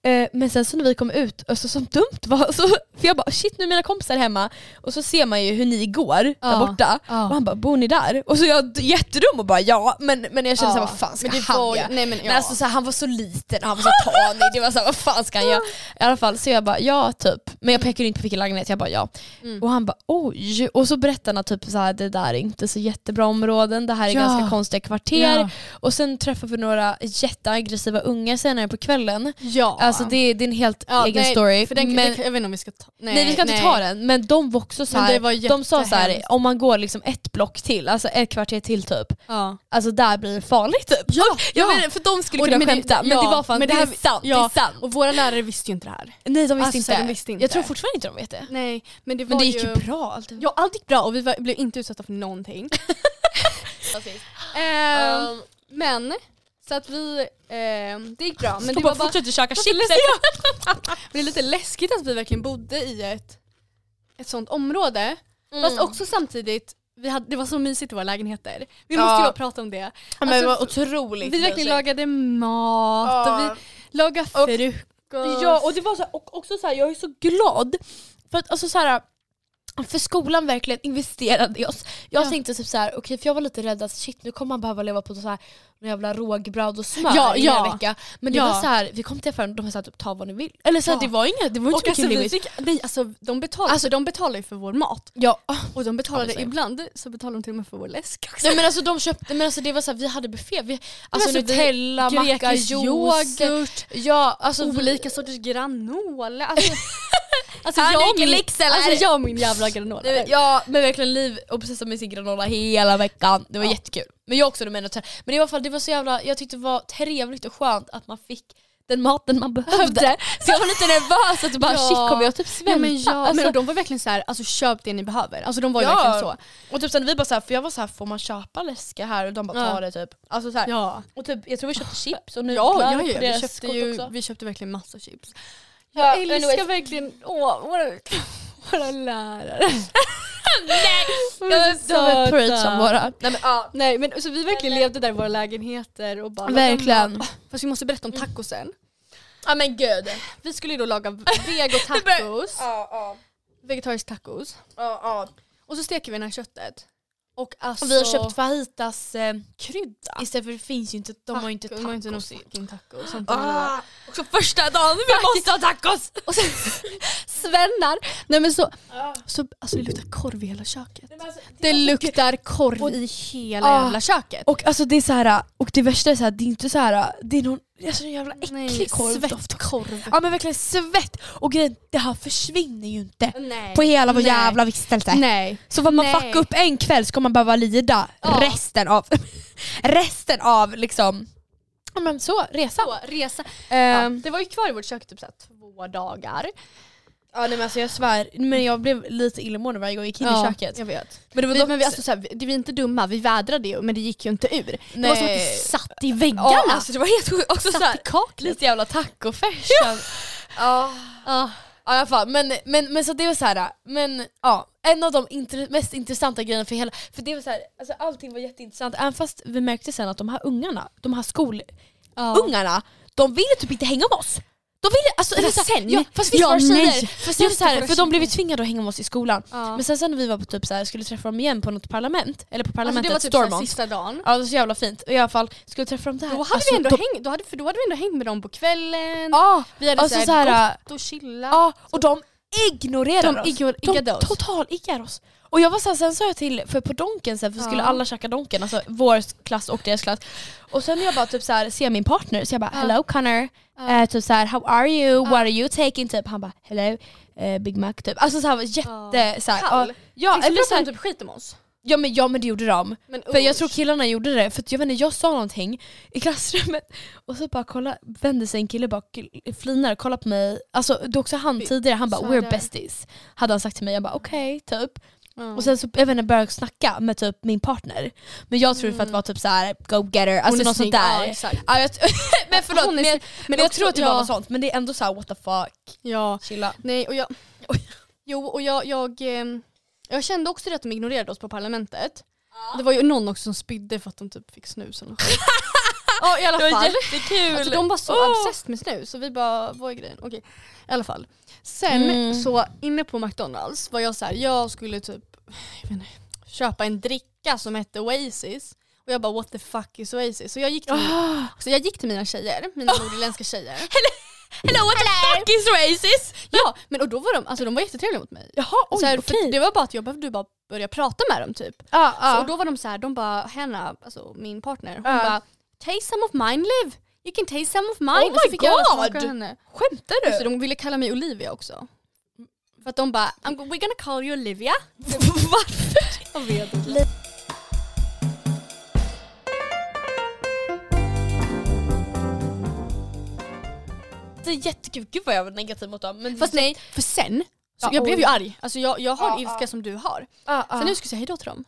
Eh, men sen så när vi kom ut, alltså, som dumt var, så, för jag bara shit nu är mina kompisar hemma och så ser man ju hur ni går där Ja, borta. ja. Och han bara bor ni där? Och så jag jättedum och bara ja, men, men jag kände Ja, såhär vad fan ska men det han var ju- göra? nej, men ja. alltså, såhär, han var så liten och han var så tanig, det var såhär vad fan ska han göra? I alla fall så jag bara ja typ, men jag pekade inte på vilken lägenhet, jag bara ja. Mm. Och han bara oj, och så berättade han att typ, så här, det där är inte så jättebra områden, det här är Ja. ganska konstiga kvarter. Ja. Och sen träffade vi några jätteaggressiva ungar senare på kvällen. Ja. Alltså det, det är en helt egen nej, story. För den, men, den, jag vet inte om vi ska ta nej, vi ska inte ta den, men de var också så Men det här, var de sa så här, jättehemskt. om man går liksom ett block till, alltså ett kvarter till typ, Ja. Oh, alltså där blir det farligt typ. Ja, Och jag ja. menar, för de skulle Och kunna men det- skämta, men ja, det var fan, men det, det här- är sant, ja. det är sant. Och våra lärare visste ju inte det här. nej de visste, Alltså, inte. de visste inte. Jag tror fortfarande inte de vet det. Nej, men det var Men det gick ju ju bra allt. Ja, allt gick bra och vi var, blev inte utsatta för (laughs) någonting. Ehm, men, så att vi... ehm, det gick bra. Men det var bara, fortsätter käka chips. det är lite läskigt att vi verkligen bodde i ett, ett sånt område. Fast också samtidigt, vi hade, det var så mysigt i våra lägenheter. Vi Ja. måste ju bara prata om det. Men det var Alltså, otroligt vi verkligen lagade mat och vi lagade Och- frukost. Ja och det var så här, och också så här, jag är så glad för att alltså så här för skolan verkligen investerade i oss. Jag Ja. tänkte typ så här, okej för jag var lite rädd att shit nu kommer man behöva leva på så här några jävla rågbröd och smör Ja, i ja. en vecka. Men det Ja. var så här, vi kom till affären och de sa typ ta vad ni vill. Eller så här, Ja. det var inga, det var inte och så mycket alltså, vi limit. fick, nej, alltså, de betalade, alltså, de betalade ju för vår mat. Ja. Och de betalade Ja, det är så. ibland så betalade de till och med för vår läsk också. Nej men alltså de köpte, men alltså det var så här, vi hade buffé. Vi, alltså alltså, vi- Nutella, macka, Grekisk juice. yoghurt, Ja alltså vi, olika sorters granola. (laughs) Alltså, alltså, Han jag och dricker min, Lexel, alltså eller? jag och min jävla granola. Nej, men- Ja men verkligen Liv obsessade med sin granola hela veckan, det var jättekul. Men jag också, men, men i alla fall det var så jävla, jag tyckte det var trevligt och skönt att man fick den maten man behövde. Så jag var lite nervös att bara Ja. shit kommer jag typ svälta? Ja, men ja, alltså, men och de var verkligen så här, alltså köp det ni behöver. Alltså de var ju Ja. verkligen så. och typ sen vi bara såhär, för jag var såhär får man köpa läska här? Och de bara Ja. ta det typ. Alltså så här. Ja, Och typ, jag tror vi köpte chips och nu ja, glögg ja, på ja. Vi, deras köpte kort ju, också. vi köpte verkligen massa chips. Ja, Jag älskar verkligen åh, våra, våra (laughs) lärare. (laughs) anyways, så de är preach söta. om våra. Nej, men, ja. Nej men så vi verkligen levde där i våra lägenheter och bara Verkligen. Fast vi måste berätta om tacosen. Ja men gud. Vi skulle ju då (laughs) laga vegotacos. Ja, ja, Vegetarisk tacos. ja, ja. Och så steker vi det här köttet. Och alltså, Och vi har köpt fajitas eh, krydda. Istället för det finns ju inte, de har ju inte De har inte någon tacos. fucking tacos. sånt där. Ah, också första dagen, vi måste ha (laughs) tacos! Och sen svennar. Nej men så, Ah. så alltså det luktar korv i hela köket. Det luktar korv i hela Ah. jävla köket. Och alltså det är så här, och det värsta är så här, det är inte så här, det är någon alltså, en jävla Nej, äcklig korvdoft. svettkorv. Ja men verkligen svett! Och grejen, det här försvinner ju inte Nej. på hela vår Nej. jävla vistelse. Nej. Så vad man Nej. fuckar upp en kväll ska man behöva lida Ja. resten av, (laughs) resten av liksom, ja men så, resan. Så, resa. Ja, Ehm, det var ju kvar i vårt kök typ så här, två dagar. Ja nej men alltså jag svär, men jag blev lite illamående varje gång jag gick in Ja, i köket. Jag vet. Men det Vi, men vi, alltså, så här, vi, vi är inte dumma, vi vädrade ju men det gick ju inte ur. Det var som att Nej. det satt i väggarna. ja, alltså det var helt sjukt. Också satt så här, i kaklet. lite jävla tacofärs. Ja. Ja. Ja. Ja, i alla fall, men, men, men så det var så här, men ja, en av de inter- mest intressanta grejerna för hela, för det var så här, alltså allting var jätteintressant även fast vi märkte sen att de här ungarna, de här skolungarna, de ville typ inte hänga med oss. De ville, alltså, eller så här, sen? ja, fast vi Ja, var nej. tjejer, fast Just just så här, det, våra för de blev ju tjejer. tvingade att hänga med oss i skolan. Ja. Men sen så när vi var på typ så här, skulle träffa dem igen på något parlament, eller på alltså, parlamentet det var typ såhär, Stormont. sista dagen. Ja det var så jävla fint. I alla fall, skulle träffa dem där. Då hade, Alltså, vi ändå de- häng, då hade, för då hade vi ändå hängt med dem på kvällen. Ja, Vi hade alltså såhär, så här, gott och chillat. ja, och de ignorerar de oss. ignorerade oss. total-iggar oss. Och jag var såhär, sen sa jag till, för på donken sen, för Ja. skulle alla tjacka donken, alltså vår klass och deras klass. Och sen när jag bara typ såhär, ser min partner, så jag bara Ja. hello Connor, Ja. Eh, typ såhär how are you, Ja. what are you taking? Typ. Han bara hello, eh, Big Mac typ. Alltså såhär jätte... så här, Kall. ja. ja, eller så här, typ skit om oss. ja, men, ja men det gjorde de. Men, För jag usch. tror killarna gjorde det, för att jag vet inte, jag sa någonting i klassrummet och så bara kolla, vände sig en kille bak, flinar, kollar på mig. Alltså det är också han Vi- tidigare, han bara så we're där. besties. Hade han sagt till mig, jag bara Mm. okej typ. Ja. Och sen så, jag vet inte, började jag snacka med typ min partner. Men jag tror det för att vara typ såhär go getter, Mm. Hon alltså är något snygg. sånt där. Ja, exakt. Ja, jag, (laughs) men förlåt, Hon är men, jag, snygg. men jag också- tror att det ja. bara var sånt. Men det är ändå såhär what the fuck, Ja, chilla. nej och jag... Jo och jag, jag, ehm, jag kände också det att de ignorerade oss på parlamentet. Det var ju någon också som spydde för att de typ fick (laughs) snus eller något. Ja i alla Det var fall. jättekul! Alltså, de var så Åh. obsessed med snus så vi bara, vad är grejen? Okej. I alla fall. Sen Mm. så inne på McDonalds var jag så här, jag skulle typ jag vet inte, köpa en dricka som hette Oasis. Och jag bara what the fuck is Oasis? Så jag gick till, Ah. så jag gick till mina tjejer, mina nordirländska tjejer. (laughs) Hello what the fuck is racist? Ja, men och då var de, alltså de var jättetrevliga mot mig. Jaha oj så här, okej. för det var bara att jag behövde bara börja prata med dem typ. Ja, ja. Så, och då var de så här, de bara Hanna, alltså min partner, hon Ja. bara Taste some of mine Liv! You can taste some of mine! Oh Och så my fick jag alla God! smaker av henne. Skämtar du? Så de ville kalla mig Olivia också. För att de bara I'm, go- We're gonna call you Olivia. Mm. Jag vet inte. Det är jättekul. Gud vad jag var negativ mot dem. Men Fast nej, för sen, så Ja, jag blev oj. ju arg. Alltså jag, jag har Ja, en ilska ja. som du har. Ah, ah. Så nu ska jag säga hejdå till dem.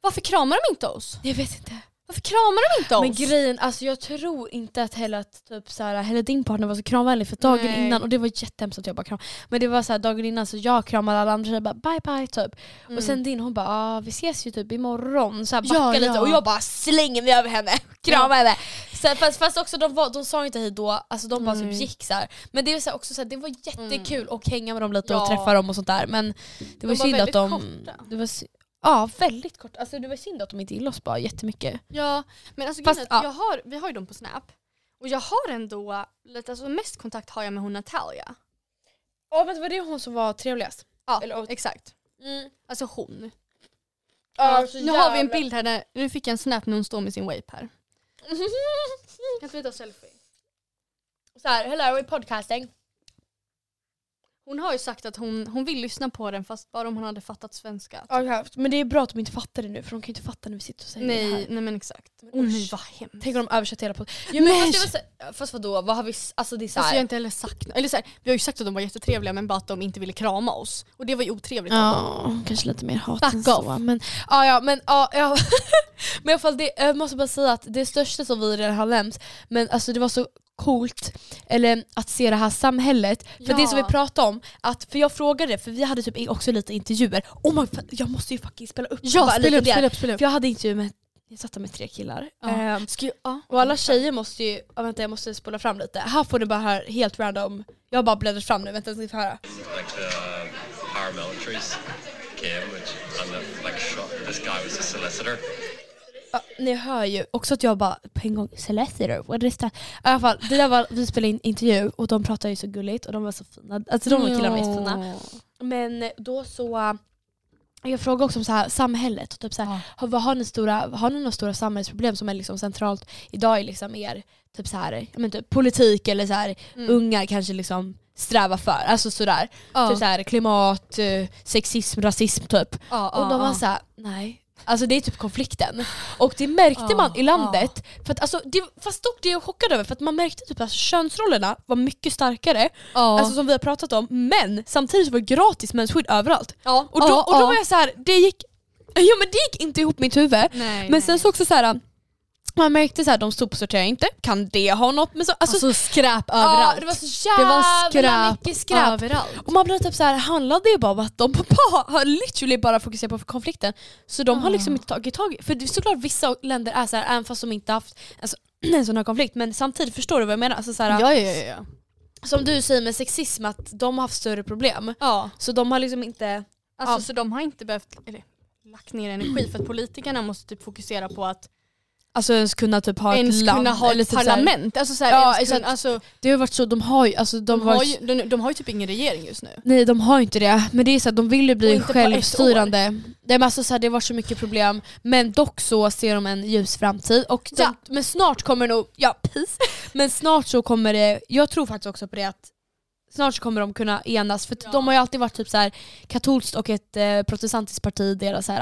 Varför kramar de inte oss? jag vet inte. Varför kramar de inte oss? Men grejen, alltså jag tror inte att heller att typ så här, heller din partner var så kramvänlig för dagen Nej. innan, och det var jättehemskt att jag bara kramade. Men det var så här, dagen innan så jag kramade alla andra tjejer bara bye bye typ. Och sen din hon bara ah, vi ses ju typ imorgon, så här, Mm. Ja, backa lite ja. och jag bara slänger mig över henne, (laughs) kramar henne. Så här, fast, fast också de, var, de sa inte hej då, alltså de bara typ Nej. gick så här. Men det, är så här, också så här, det var jättekul att hänga med dem lite Mm. Ja. och träffa dem och sånt där. Men det var, var synd att väldigt de... korta. Det var, sy- ja väldigt kort, alltså det var synd att de inte gillade oss bara jättemycket. Ja, men alltså Fast, grejen är ja. att jag har, vi har ju dem på Snap. Och jag har ändå, lite, alltså mest kontakt har jag med hon Natalia. Ja men det var det hon som var trevligast. Ja, Eller- exakt. Mm. Alltså hon. Ja, Mm. Eh, nu har vi (laughs) en bild här, där, nu fick jag en Snap när hon står med sin vape här. Kan inte vi ta selfie? så här, hello i podcasting. Hon har ju sagt att hon, hon vill lyssna på den fast bara om hon hade fattat svenska. Men det är bra att de inte fattar det nu för de kan ju inte fatta när vi sitter och säger det nej, här. nej men exakt. Men Åh nej usch. vad hemskt. Tänk om de översätter hela podden. Jo, men fast det var fast, fast vadå, vad har vi, s- alltså det är så Alltså här. jag har inte heller sagt eller så här, Vi har ju sagt att de var jättetrevliga men bara att de inte ville krama oss. Och det var ju otrevligt. av dem. Ja, kanske lite mer hat Back än så. Men, ja, ja, men, ja, ja. (laughs) men i alla fall, det, jag måste bara säga att det största som vi redan har nämnt, men alltså det var så coolt eller, att se det här samhället. För Ja. det som vi pratade om, att, för jag frågade, för vi hade typ också lite intervjuer. Oh my, fan, jag måste ju fucking spela upp Ja, bara spela lite upp, det. spela upp, spela upp. För jag hade intervju med, jag satt där med tre killar. Ja. Ehm, Ska jag, ja. och alla tjejer måste ju, ja, vänta jag måste spola fram lite. Här får ni bara höra helt random, jag har bara bläddrat fram nu, vänta ni får höra. like the higher militaries came, which and the, like shot. This guy was a solicitor. Ja, ni hör ju också att jag bara på en gång solicitor, what is that? I alla fall, det där var, vi spelade in intervju och de pratade ju så gulligt och de var så fina. Alltså de var killarna var jättefina. Men då så, eh, jag frågade också om så här, samhället, och typ så här, har, vad har, ni stora, har ni några stora samhällsproblem som är liksom centralt idag i liksom er typ så här, ja, men typ politik eller så här, unga kanske liksom strävar för? Alltså sådär. Ja. Typ så här, klimat, eh, sexism, rasism typ. Ja, Och de var såhär, nej. Alltså det är typ konflikten. Och det märkte Ja, man i landet. För att, alltså, det, fast dock det är jag chockad över, för att man märkte typ att könsrollerna var mycket starkare, ja. alltså, som vi har pratat om, men samtidigt var det gratis mensskydd överallt. ja. Och då, och då var jag så här, det gick, (laughs) ja, men det gick inte ihop i mitt huvud. Nej, men sen så också så här. Man märkte att de sopsorterar inte, kan det ha något med så, alltså, Alltså skräp ja, överallt. det var så Det jävla var skräp, mycket skräp. överallt. Och man blir typ så här, handlade ju bara om att de (laughs) bara har literally bara fokuserat på konflikten. Så de har liksom inte tagit tag i- För det är såklart vissa länder är så (clears throat) här, även fast de inte haft en så- en sån här konflikt, men samtidigt förstår du vad jag menar? Alltså så här, Ja, ja, ja, ja. som du säger med sexism, att de har haft större problem. Ja. Så de har liksom inte... Alltså, Ja. Så de har inte behövt eller, lagt ner energi för att politikerna måste typ fokusera på att Alltså ens kunna typ ha ens ett land. kunna ha eller ett typ så här- parlament. Alltså, så här, Ja, ens exakt. kunna, alltså, det har varit så, de har ju, alltså, de de, har har ju, de, de har ju typ ingen regering just nu. Nej de har ju inte det, men det är så att de vill ju Och bli inte på ett självstyrande. Nej, men alltså så här, det har varit så mycket problem, men dock så ser de en ljus framtid. Och de, Ja. Men snart kommer nog, ja peace, men snart så kommer det, jag tror faktiskt också på det att snart så kommer de kunna enas, för att de har ju alltid varit typ så här katolskt och ett eh, protestantiskt parti i deras, så här,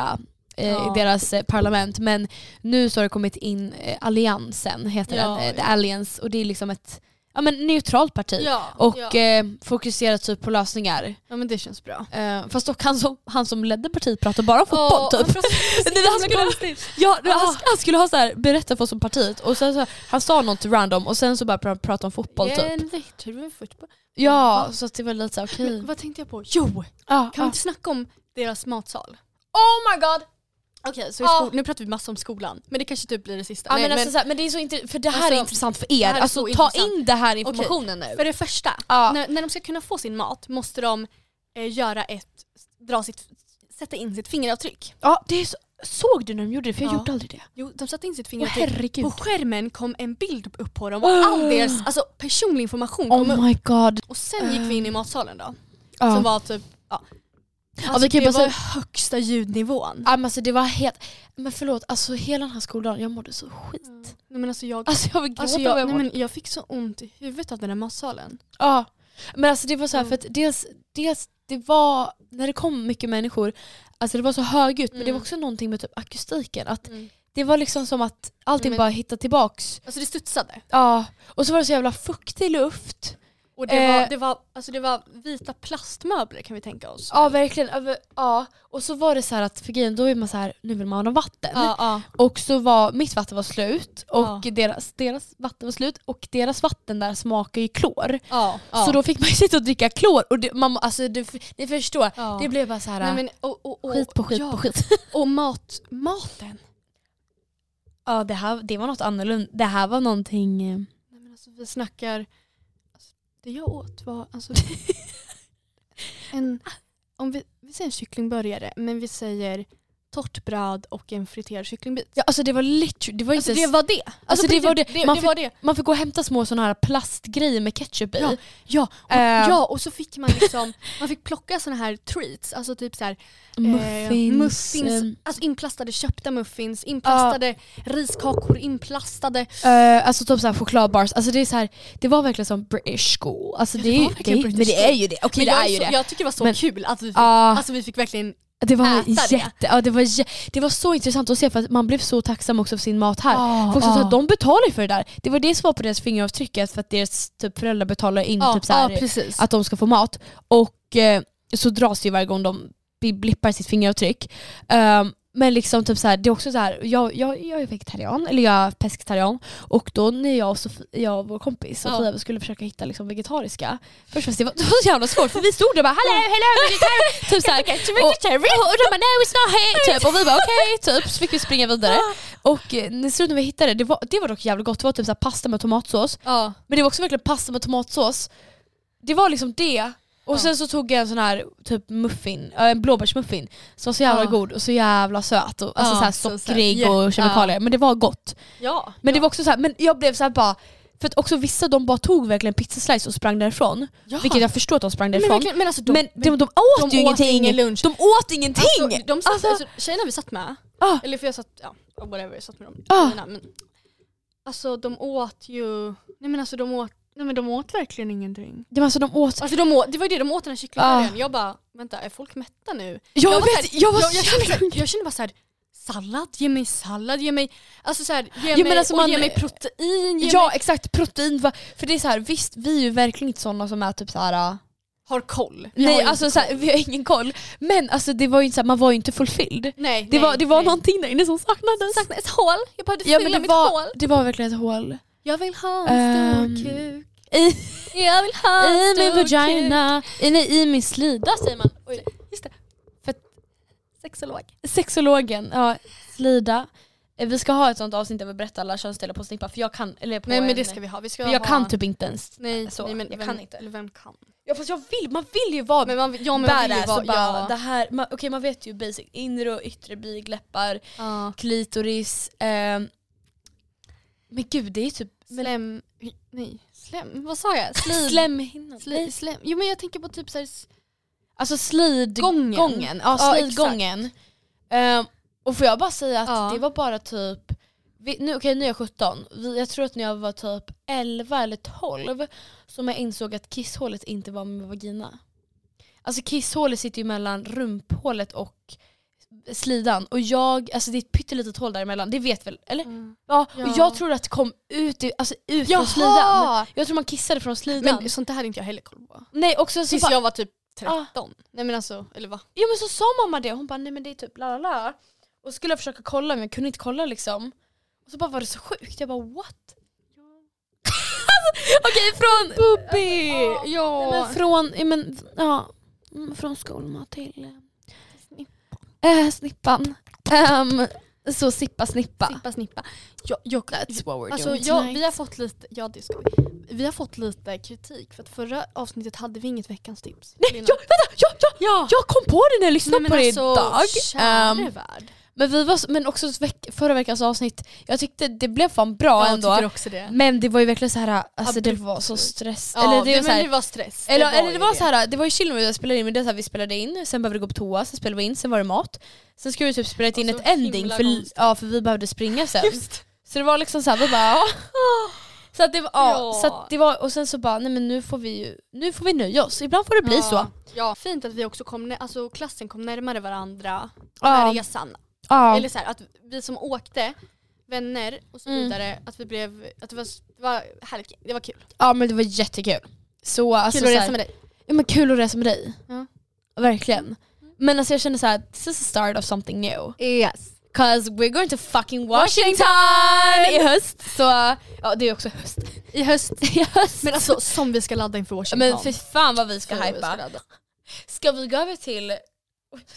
eh, Ja. i deras eh, parlament, men nu så har det kommit in eh, alliansen, heter Ja, den, eh, The ja. Alliance, och det är liksom ett ja, men, neutralt parti. Ja, Och ja. eh, fokusera typ på lösningar. ja men det känns (laughs) bra. Eh, fast dock han som, han som ledde partiet pratade bara om fotboll Åh, typ. han pratar (laughs) Nej, men han, skulle, ja, nej, han, han skulle ha så här, berätta för oss om partiet och sen så, han sa något random och sen så började han prata om fotboll typ. Typ. fotboll. Ja, så att det var lite såhär okej. Men vad tänkte jag på? Jo! Ja, Kan vi ja. inte snacka om deras matsal? Oh my god! Okej, så i Ja. sko- nu pratar vi massa om skolan. Men det kanske typ blir det sista. Ja, Nej, men, alltså, men så här, men det är så inte, för det här Alltså, är intressant för här er. är Alltså, så ta intressant. in det här informationen nu. för det första, Ja. när, när de ska kunna få sin mat måste de eh, göra ett, dra sitt, sätta in sitt fingeravtryck. ja, det är så, såg du när de gjorde det? För jag Ja. gjorde aldrig det. Jo, de satte in sitt Åh fingeravtryck. herregud. på skärmen kom en bild upp på dem och all deras alltså, personlig information kom upp. Oh my god. Och sen gick vi in i matsalen då. Ja. Som var typ, Ah. ja. Alltså, vi kan ju det bara var högsta ljudnivån. Ja, men alltså, det var helt... Men förlåt, alltså hela den här skoldagen, jag mådde så skit. Nej, men alltså jag, Alltså jag vill gråta. alltså vad jag, jag nej, mår. men jag fick så ont i huvudet av den där matsalen. Ja. Men alltså det var så här, för att dels, dels det var, när det kom mycket människor, alltså det var så högljutt men det Mm. var också någonting med typ akustiken. Att Det var liksom som att allting Men- bara hittade tillbaks. Alltså det studsade. Ja. Och så var det så jävla fuktig luft. Och det, var, Eh. det, var, alltså det var vita plastmöbler kan vi tänka oss. Ja verkligen. Över- Ja. Och så var det så här att för grejen, då är man så här, nu vill man ha vatten. ja. Och så var mitt vatten var slut och Ja. deras, deras vatten var slut och deras vatten där smakar ju klor. ja, ja. Så då fick man ju sitta och dricka klor och det, man, alltså, du, ni förstår, Ja. det blev bara så här. nej, men, och, och, och, Skit på skit ja. på skit. (laughs) Och mat, maten. Ja det här det var något annorlunda. Det här var någonting... eh, Nej, men alltså, vi snackar, alltså, det jag åt var (laughs) alltså, en, om vi, vi säger en kycklingburgare men vi säger torrt bröd och en friterad kycklingbit. Ja, alltså det var literally, det var Alltså, inte det ens- var det. Alltså, på det var riktigt, det. Man det, fick- var det. Man fick gå och hämta små sådana här plastgrejer med ketchup i. Ja, Ja, och, Eh. ja, och så fick man liksom, man fick plocka såna här treats, alltså typ så här, eh, Muffins. muffins ehm, alltså inplastade köpta muffins, inplastade riskakor, inplastade. eh, alltså typ såhär chokladbars. Alltså det är så här, det var verkligen som British school. Alltså det, det är var ju- verkligen det, British men det school. är ju det. Okej det jag, är ju så, det. jag tycker det var så Men- kul att vi fick, Ja. alltså, vi fick verkligen Det var äta det. jätte, ja, det, var, jä- det var så intressant att se för att man blev så tacksam också för sin mat här. Ja, Folk som sa ja. att de betalar ju för det där. Det var det som var på deras fingeravtrycket för att deras typ, föräldrar betalar in Ah, typ så här, precis. att de ska få mat. Och eh, så dras det ju varje gång de blippar sitt fingeravtryck. Ehm, men liksom typ så här, det är också så här, jag, jag, jag är vegetarian, eller jag är pescetarian och då när jag och, Sofi, jag och vår kompis Ja. Sofia skulle försöka hitta liksom vegetariska, först var det, var- (laughs) det var så jävla svårt för vi stod där och bara hello, hello, vegetarian, (laughs) typ så här, och, och, och de bara no it's not here, (laughs) typ. och vi bara okej, typ. så fick vi springa vidare. Och eh, när slutet när vi hittade det, det var, det var dock jävligt gott, det var typ så här pasta med tomatsås ja. men det var också verkligen pasta med tomatsås. Det var liksom det. Och Ja. sen så tog jag en sån här typ muffin, äh, en blåbärsmuffin som var så jävla Ja. god och så jävla söt. Och, alltså Ja, så här så söt. sockrig Ja. och kemikalier. Men det var gott. Ja. Men det var också så här, men jag blev så här bara, för att också vissa de bara tog verkligen pizzaslice och sprang därifrån. Ja. Vilket jag förstår att de sprang men, därifrån. verkligen, men alltså de, Men, de, de, åt de ju åt ingen ingenting. lunch. De åt ingenting! alltså, de satt, Alltså- alltså, tjejerna vi satt med, Ah. eller för jag satt, ja whatever, jag satt med dem. Ah. Tjejerna, men, alltså de åt ju, nej men alltså de åt, nej men de åt verkligen ingenting. Ah. Ja, men alltså, de åt... Alltså de åt, det var ju det, de åt den här kycklingburgaren. Jag bara, vänta är folk mätta nu? Jag, var vet, jag var Jag, så jag, kände, så här- jag kände bara såhär, sallad, ge mig sallad, ge mig, alltså såhär, ge, men mig, alltså och man- ge mig protein, ge Ja mig, exakt, protein. va- För det är så här, visst vi är ju verkligen inte sådana som är typ så här. äh, har koll. Jag har Nej inte alltså så här, vi har ingen koll. Men alltså, det var ju inte så här, man var ju inte fulfilled. nej, Det nej, var, det var nej. någonting där inne som saknades. Saknar ett hål, jag behövde Ja, fylla men det, mitt hål. var, det var verkligen ett hål. Jag vill ha Ehm, en stor kuk. I, Jag vill ha i min vagina, i, nej, i min slida säger man. Oj, just det. För att, Sexolog. sexologen, ja, slida. Eh, Vi ska ha ett sånt avsnitt där vi berättar alla könsdelar på snippa för jag kan, eller på Nej men en- det ska vi ha. Vi ska Jag ha, kan typ inte ens. Nej, så. nej men Jag vem, kan inte. Eller vem kan? Ja fast jag vill, man vill ju vara Men man, ja, men man vill ju badass vara, och bara det ja, här, man, okej man vet ju basic, inre och yttre big, läppar, ja. klitoris. eh, ehm. men gud det är ju typ Slem, nej slem, vad sa jag? Slid, slemhinnan. sli, slem. Jo men jag tänker på typ såhär Alltså slidgången. Gången. Gången. Ja, Ja, slidgången. Ehm, och får jag bara säga att Ja. det var bara typ, vi, nu, okej nu är jag 17, vi, jag tror att när jag var typ 11 eller 12 som jag insåg att kisshålet inte var min vagina. Alltså kisshålet sitter ju mellan rumphålet och slidan och jag, alltså det är ett pyttelitet hål däremellan, det vet väl, eller? Ja, Ja. Och jag tror att det kom ut, i- alltså ut från slidan. Jaha! Jag tror man kissade från slidan. Men sånt där hade inte jag heller koll på. Nej också så Tills bara, jag var typ Ah. 13. Nej men alltså, eller va? Ja men så sa mamma det, hon bara nej men det är typ la la la. Och skulle jag försöka kolla men jag kunde inte kolla liksom. Och så bara var det så sjukt, jag bara (laughs) what? Alltså, Okej från... Bubbi! Nej, Ja. men från, ja, men, ja, Mm, från skolmat till eh, eh, snippan. Ehm, så sippa snippa. Snippa snippa. Jag, jag, That's what we're alltså, doing jag, tonight. vi, har fått lite, ja, det ska vi. vi har fått lite kritik för att förra avsnittet hade vi inget veckans tips. Nej, ja, vänta, ja, ja, ja. jag kom på det när jag lyssnade Nej, men på det alltså, idag. Käre Ehm, värld. men, vi var, s- men också veck, förra veckans avsnitt, jag tyckte det blev fan bra jag ändå. tycker också det. Men det var ju verkligen så här, alltså det Abrupt. var så stress. Ja, eller det var så men här, det var stress. eller, eller ju det var så här, det var ju chill när vi spelade in, men det är så här, vi spelade in, sen behövde vi gå på toa, sen spelade vi in, sen var det mat. Sen skulle vi typ spela in Ja, så ett ending himla för, konstigt. ja, för vi behövde springa sen. Så det var liksom så här, vi bara (laughs) ja. Så att det var, ja, Ja. Så att det var, och sen så bara nej men nu får vi ju, nu får vi nöja oss, ibland får det bli ja. så. Ja, fint att vi också kom, nä- alltså klassen kom närmare varandra Ja. med resan. Ja. Eller så här, att vi som åkte, vänner och så Mm. vidare, att vi blev, att det var, det var härligt, det var kul. Kul ja men det var jättekul. Så alltså, att så här- resa med dig. ja, men kul att resa med dig. Ja. Verkligen. Men alltså jag känner såhär, this is the start of something new. Yes. Cause we're going to fucking Washington i höst. Så ja, det är också höst. I höst. (laughs) I höst. Men alltså som vi ska ladda inför Washington. Men för fan vad vi ska Fy, vad vi ska hypa. ladda. Ska vi gå över till Oj,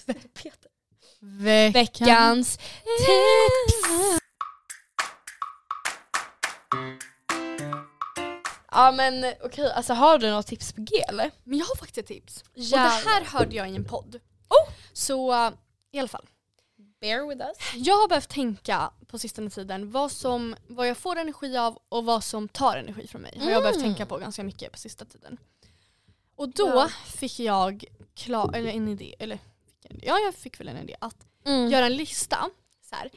vad är det, Peter? (laughs) Veckans. veckans tips? Ja men okej, alltså har du något tips på G eller? Men jag har faktiskt ett tips. Jävlar. Oh! Och det här hörde jag i en podd. Så äh, i alla fall. Bear with us. Jag har behövt tänka på sistone tiden vad, som, vad jag får energi av och vad som tar energi från mig. Har jag Mm. behövt tänka på ganska mycket på sista tiden. Och då Ja. fick jag klar, eller en idé, eller fick jag- ja jag fick väl en idé att Mm. Oh. göra en lista. Så här,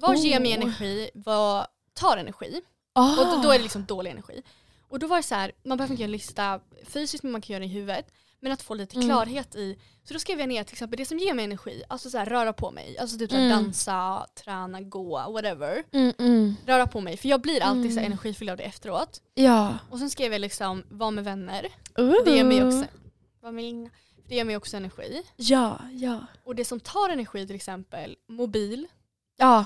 vad ger mig energi, vad tar energi? Och då- då är det liksom dålig energi. Och då var det så här, man behöver inte göra en lista fysiskt men man kan göra den i huvudet. Men att få lite klarhet i, så då skrev jag ner till exempel det som ger mig energi, alltså så här, röra på mig, alltså typ så här, dansa, träna, gå, whatever. Mm, mm. Röra på mig, för jag blir alltid så här, energifylld av det efteråt. Ja. Uh. Och sen skrev jag liksom, var med vänner, det ger Uh-huh. mig också, var med Lina. det ger mig också energi. Ja, ja. Och det som tar energi till exempel, mobil, Ja.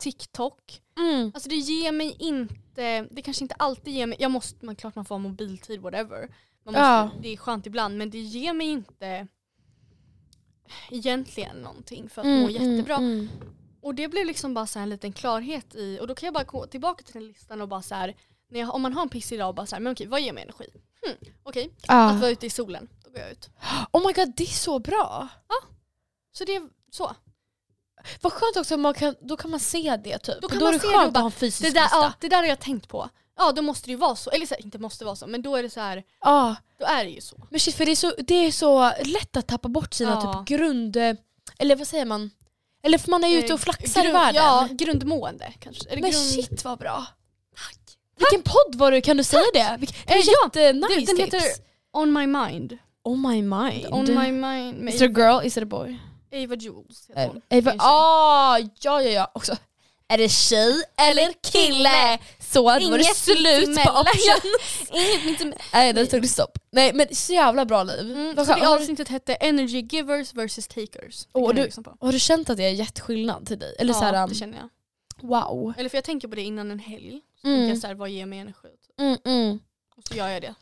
TikTok, Mm. Alltså det ger mig inte, det kanske inte alltid ger mig, jag måste, man, klart man får ha mobiltid whatever. Man måste, Ja. Det är skönt ibland men det ger mig inte egentligen någonting för att må jättebra. Mm, Och det blev liksom bara så här en liten klarhet i, och då kan jag bara gå tillbaka till den listan och bara så här, när jag, om man har en pissig dag och bara så här, men okej vad ger mig energi? Hmm, okej, att vara ute i solen, då går jag ut. Oh my god, det är så bra. Så det är så. Vad skönt också, man kan, då kan man se det typ. Då kan då man är det se det skönt och bara, att ha en fysisk Det där, lista. ja, det där har jag tänkt på. Ja då måste det ju vara så, eller så här, inte måste vara så men då är det så här, Ja. då är det ju så. Men shit, för det är, så, det är så lätt att tappa bort sina Ja. typ grund... Eller vad säger man? Eller för man är ju ute och flaxar i Eh, Grund- världen. Ja, grundmående kanske. Eller Men grund... shit vad bra. Vilken podd var du? Kan du säga det? Vilken, det är Eh, ja, jättenice Du, den tips. heter On My Mind. Oh my mind. On My Mind Eh, Is med it a girl? Is it a boy? Ava Jules heter hon. Eller- Eva- Det är en tjej. Ah, ja, ja, ja. Också. Är det tjej eller kille? Så då var det Inget slut på mittemellan. (laughs) option. Nej, där tog det stopp. Nej, men så jävla bra liv. Mm, Vad så skönt. det har, du, avsnittet hette Energy Givers vs Takers. Det Åh, kan du- jag lyssna på. har du känt att det är gett skillnad till dig? Eller så ja, här, um- det känner jag. wow. Eller för jag tänker på det innan en helg. Så Mm. tänker jag så här, vad ger mig energi? Mm, mm. Och så gör jag det.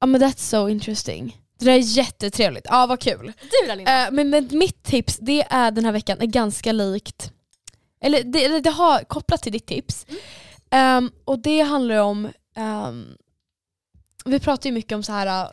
Ja men that's so interesting. Det där är jättetrevligt, ja vad kul. Du då Linda? Eh, men, men mitt tips det är den här veckan är ganska likt eller det, eller det har kopplat till ditt tips. Ehm, och det handlar om, ehm, vi pratar ju mycket om så här, äh,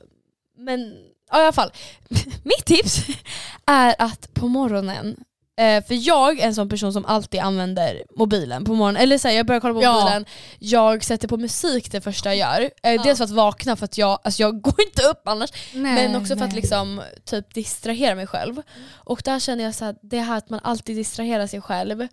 men ja, i alla fall. (laughs) Mitt tips (laughs) är att på morgonen, eh, för jag är en sån person som alltid använder mobilen på morgonen, eller så här, jag börjar kolla på Ja. mobilen, jag sätter på musik det första jag gör. Eh, Dels för att vakna, för att jag, alltså jag (laughs) går inte upp annars, men också för att liksom, typ distrahera mig själv. Och där känner jag så här, det här att man alltid distraherar sig själv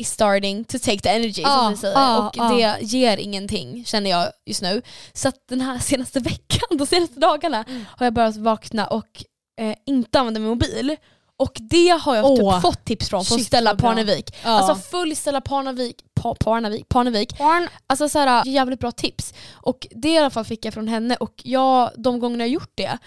is starting to take the energy Ja, som vi säger. ja, och ja. det ger ingenting känner jag just nu. Så att den här senaste (laughs) veckan, de senaste dagarna Mm. har jag börjat vakna och eh, inte använda min mobil. Och det har jag Åh. typ fått tips från från Shit, Stella vad bra. Parnevik. Ja. Alltså full Stella Parnevik, pa, Parnevik, Parnevik Barn. Alltså så här, jävligt bra tips. Och det i alla fall fick jag från henne och jag, de gångerna jag gjort det,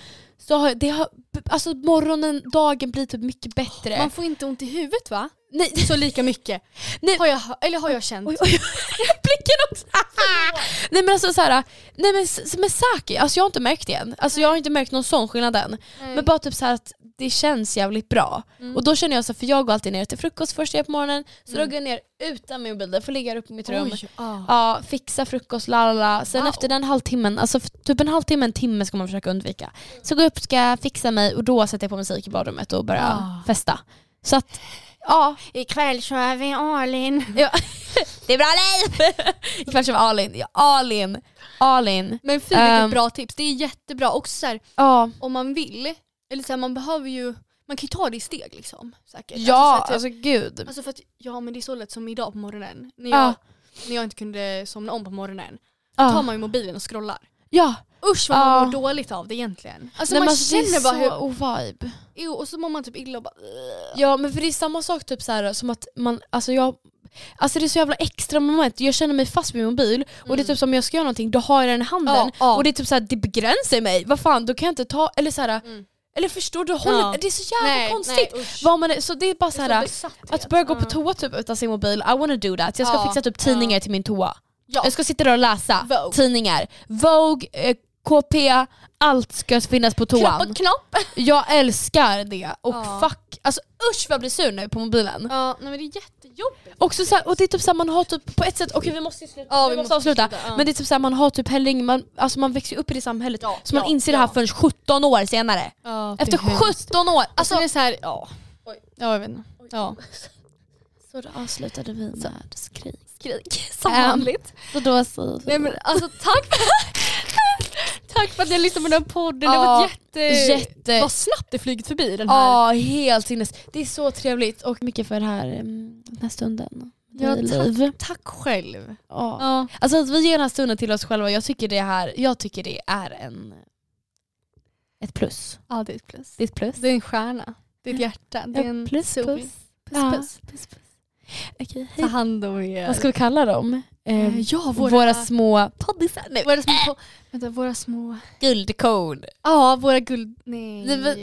så har jag- det har, alltså morgonen, dagen blir typ mycket bättre. Man får inte ont i huvudet va? nej, Så lika mycket. Nej. Har jag, eller har jag känt. oj, oj, (laughs) blicken också! Ah, nej men alltså så här, nej men, s- men säkert, alltså jag har inte märkt det än. Alltså jag har inte märkt någon sån skillnad än. Men bara typ så här att det känns jävligt bra. Mm. Och då känner jag så här, för jag går alltid ner till frukost först jag på morgonen, så då går jag ner utan min mobil, får ligga upp i mitt rum. Oj, ja. Ja, fixa frukost, lalala. Sen Wow. efter den halvtimmen, alltså f- typ en halvtimme, en timme ska man försöka undvika. Så går jag upp, ska fixa mig och då sätter jag på musik i badrummet och börjar Ah. festa. Så att, (laughs) ja. Ikväll kör vi Arlin. ja. det är bra liv! Ikväll kör vi Alin. Ja, Alin. Alin. Men fy vilket Ehm. bra tips, det är jättebra. Också så här, Ja, om man vill, eller så här, man behöver ju, man kan ju ta det i steg liksom. Säkert. ja Alltså, så här, typ, alltså gud. alltså för att, ja men det är så lätt som idag på morgonen. När jag, Ja. när jag inte kunde somna om på morgonen. tar Ja. man ju mobilen och scrollar. ja. Usch vad man Ja. mår dåligt av det egentligen. Alltså Nej, man men alltså, det är känner bara så hur, oh, ovibe. jo, och så mår man typ illa och bara Ja men för det är samma sak typ så här, som att man, alltså jag Alltså det är så jävla extra moment, jag känner mig fast med min mobil och det är typ som om jag ska göra någonting, då har jag den i handen Mm. Ja, ja. och det är typ så här, det begränsar mig, vad fan då kan jag inte ta, eller så här, Eller förstår du, håller, Mm. Ja. det är så jävla konstigt. Nej, usch. vad man är, så det är bara så Det är sån här, besatthet. att börja gå på toa typ utan sin mobil, I wanna do that. Jag ska Ja, fixa typ tidningar till min toa. Ja. Jag ska sitta där och läsa Vogue. tidningar. Vogue, eh, KP, allt ska finnas på toan. Knopp och knopp. Jag älskar det och Ja. fuck, alltså usch vad jag blir sur nu på mobilen. Ja, nej, men det är jättejobbigt. Också så här, och det är typ såhär man har typ på ett sätt, okej vi måste ju sluta, Ja, vi vi måste, måste avsluta. sluta, ja. Men det är typ såhär man har typ heller ingen, man, alltså man växer ju upp i det samhället Ja, så man ja, inser det här ja. förrän 17 år senare. Ja, Efter 17 år! Alltså Alltså, det är så här, ja. Ja jag vet inte. Ja. så då avslutade vi med skrik. (laughs) Skrik som Ehm, vanligt. Så då säger vi Nej men alltså tack för, (laughs) tack för att ni lyssnade på den här podden. Det Ja, var jätte... jätte... Vad snabbt det flugit förbi den här. Ja, helt sinnes. Det är så trevligt och mycket för det här, mm, den här stunden. Ja, I tack. liv. Tack själv. Ja. Ja. Alltså att vi ger den här stunden till oss själva, jag tycker det, här, jag tycker det är en, ett plus. ja det är ett plus. Det är ett plus. Det är en stjärna. Det är ett hjärta. Det är en plus, sol. puss. Puss, puss. Okej, Ta hej. hand om er. Vad ska vi kalla dem? Eh, Eh, ja, våra... våra- små poddisar. Nej, våra små... po- Vänta, våra små... guldkorn. Ja, våra guld... Nej. Det var-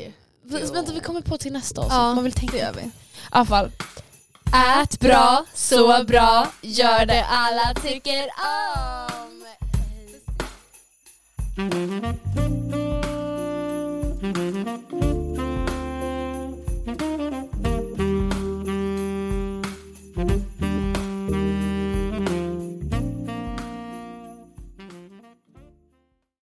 Vi- Vänta vi kommer på till nästa avsnitt. Ja, Man vill tänka. det I gör vi. alla fall. Ät bra, så bra, gör det alla tycker om.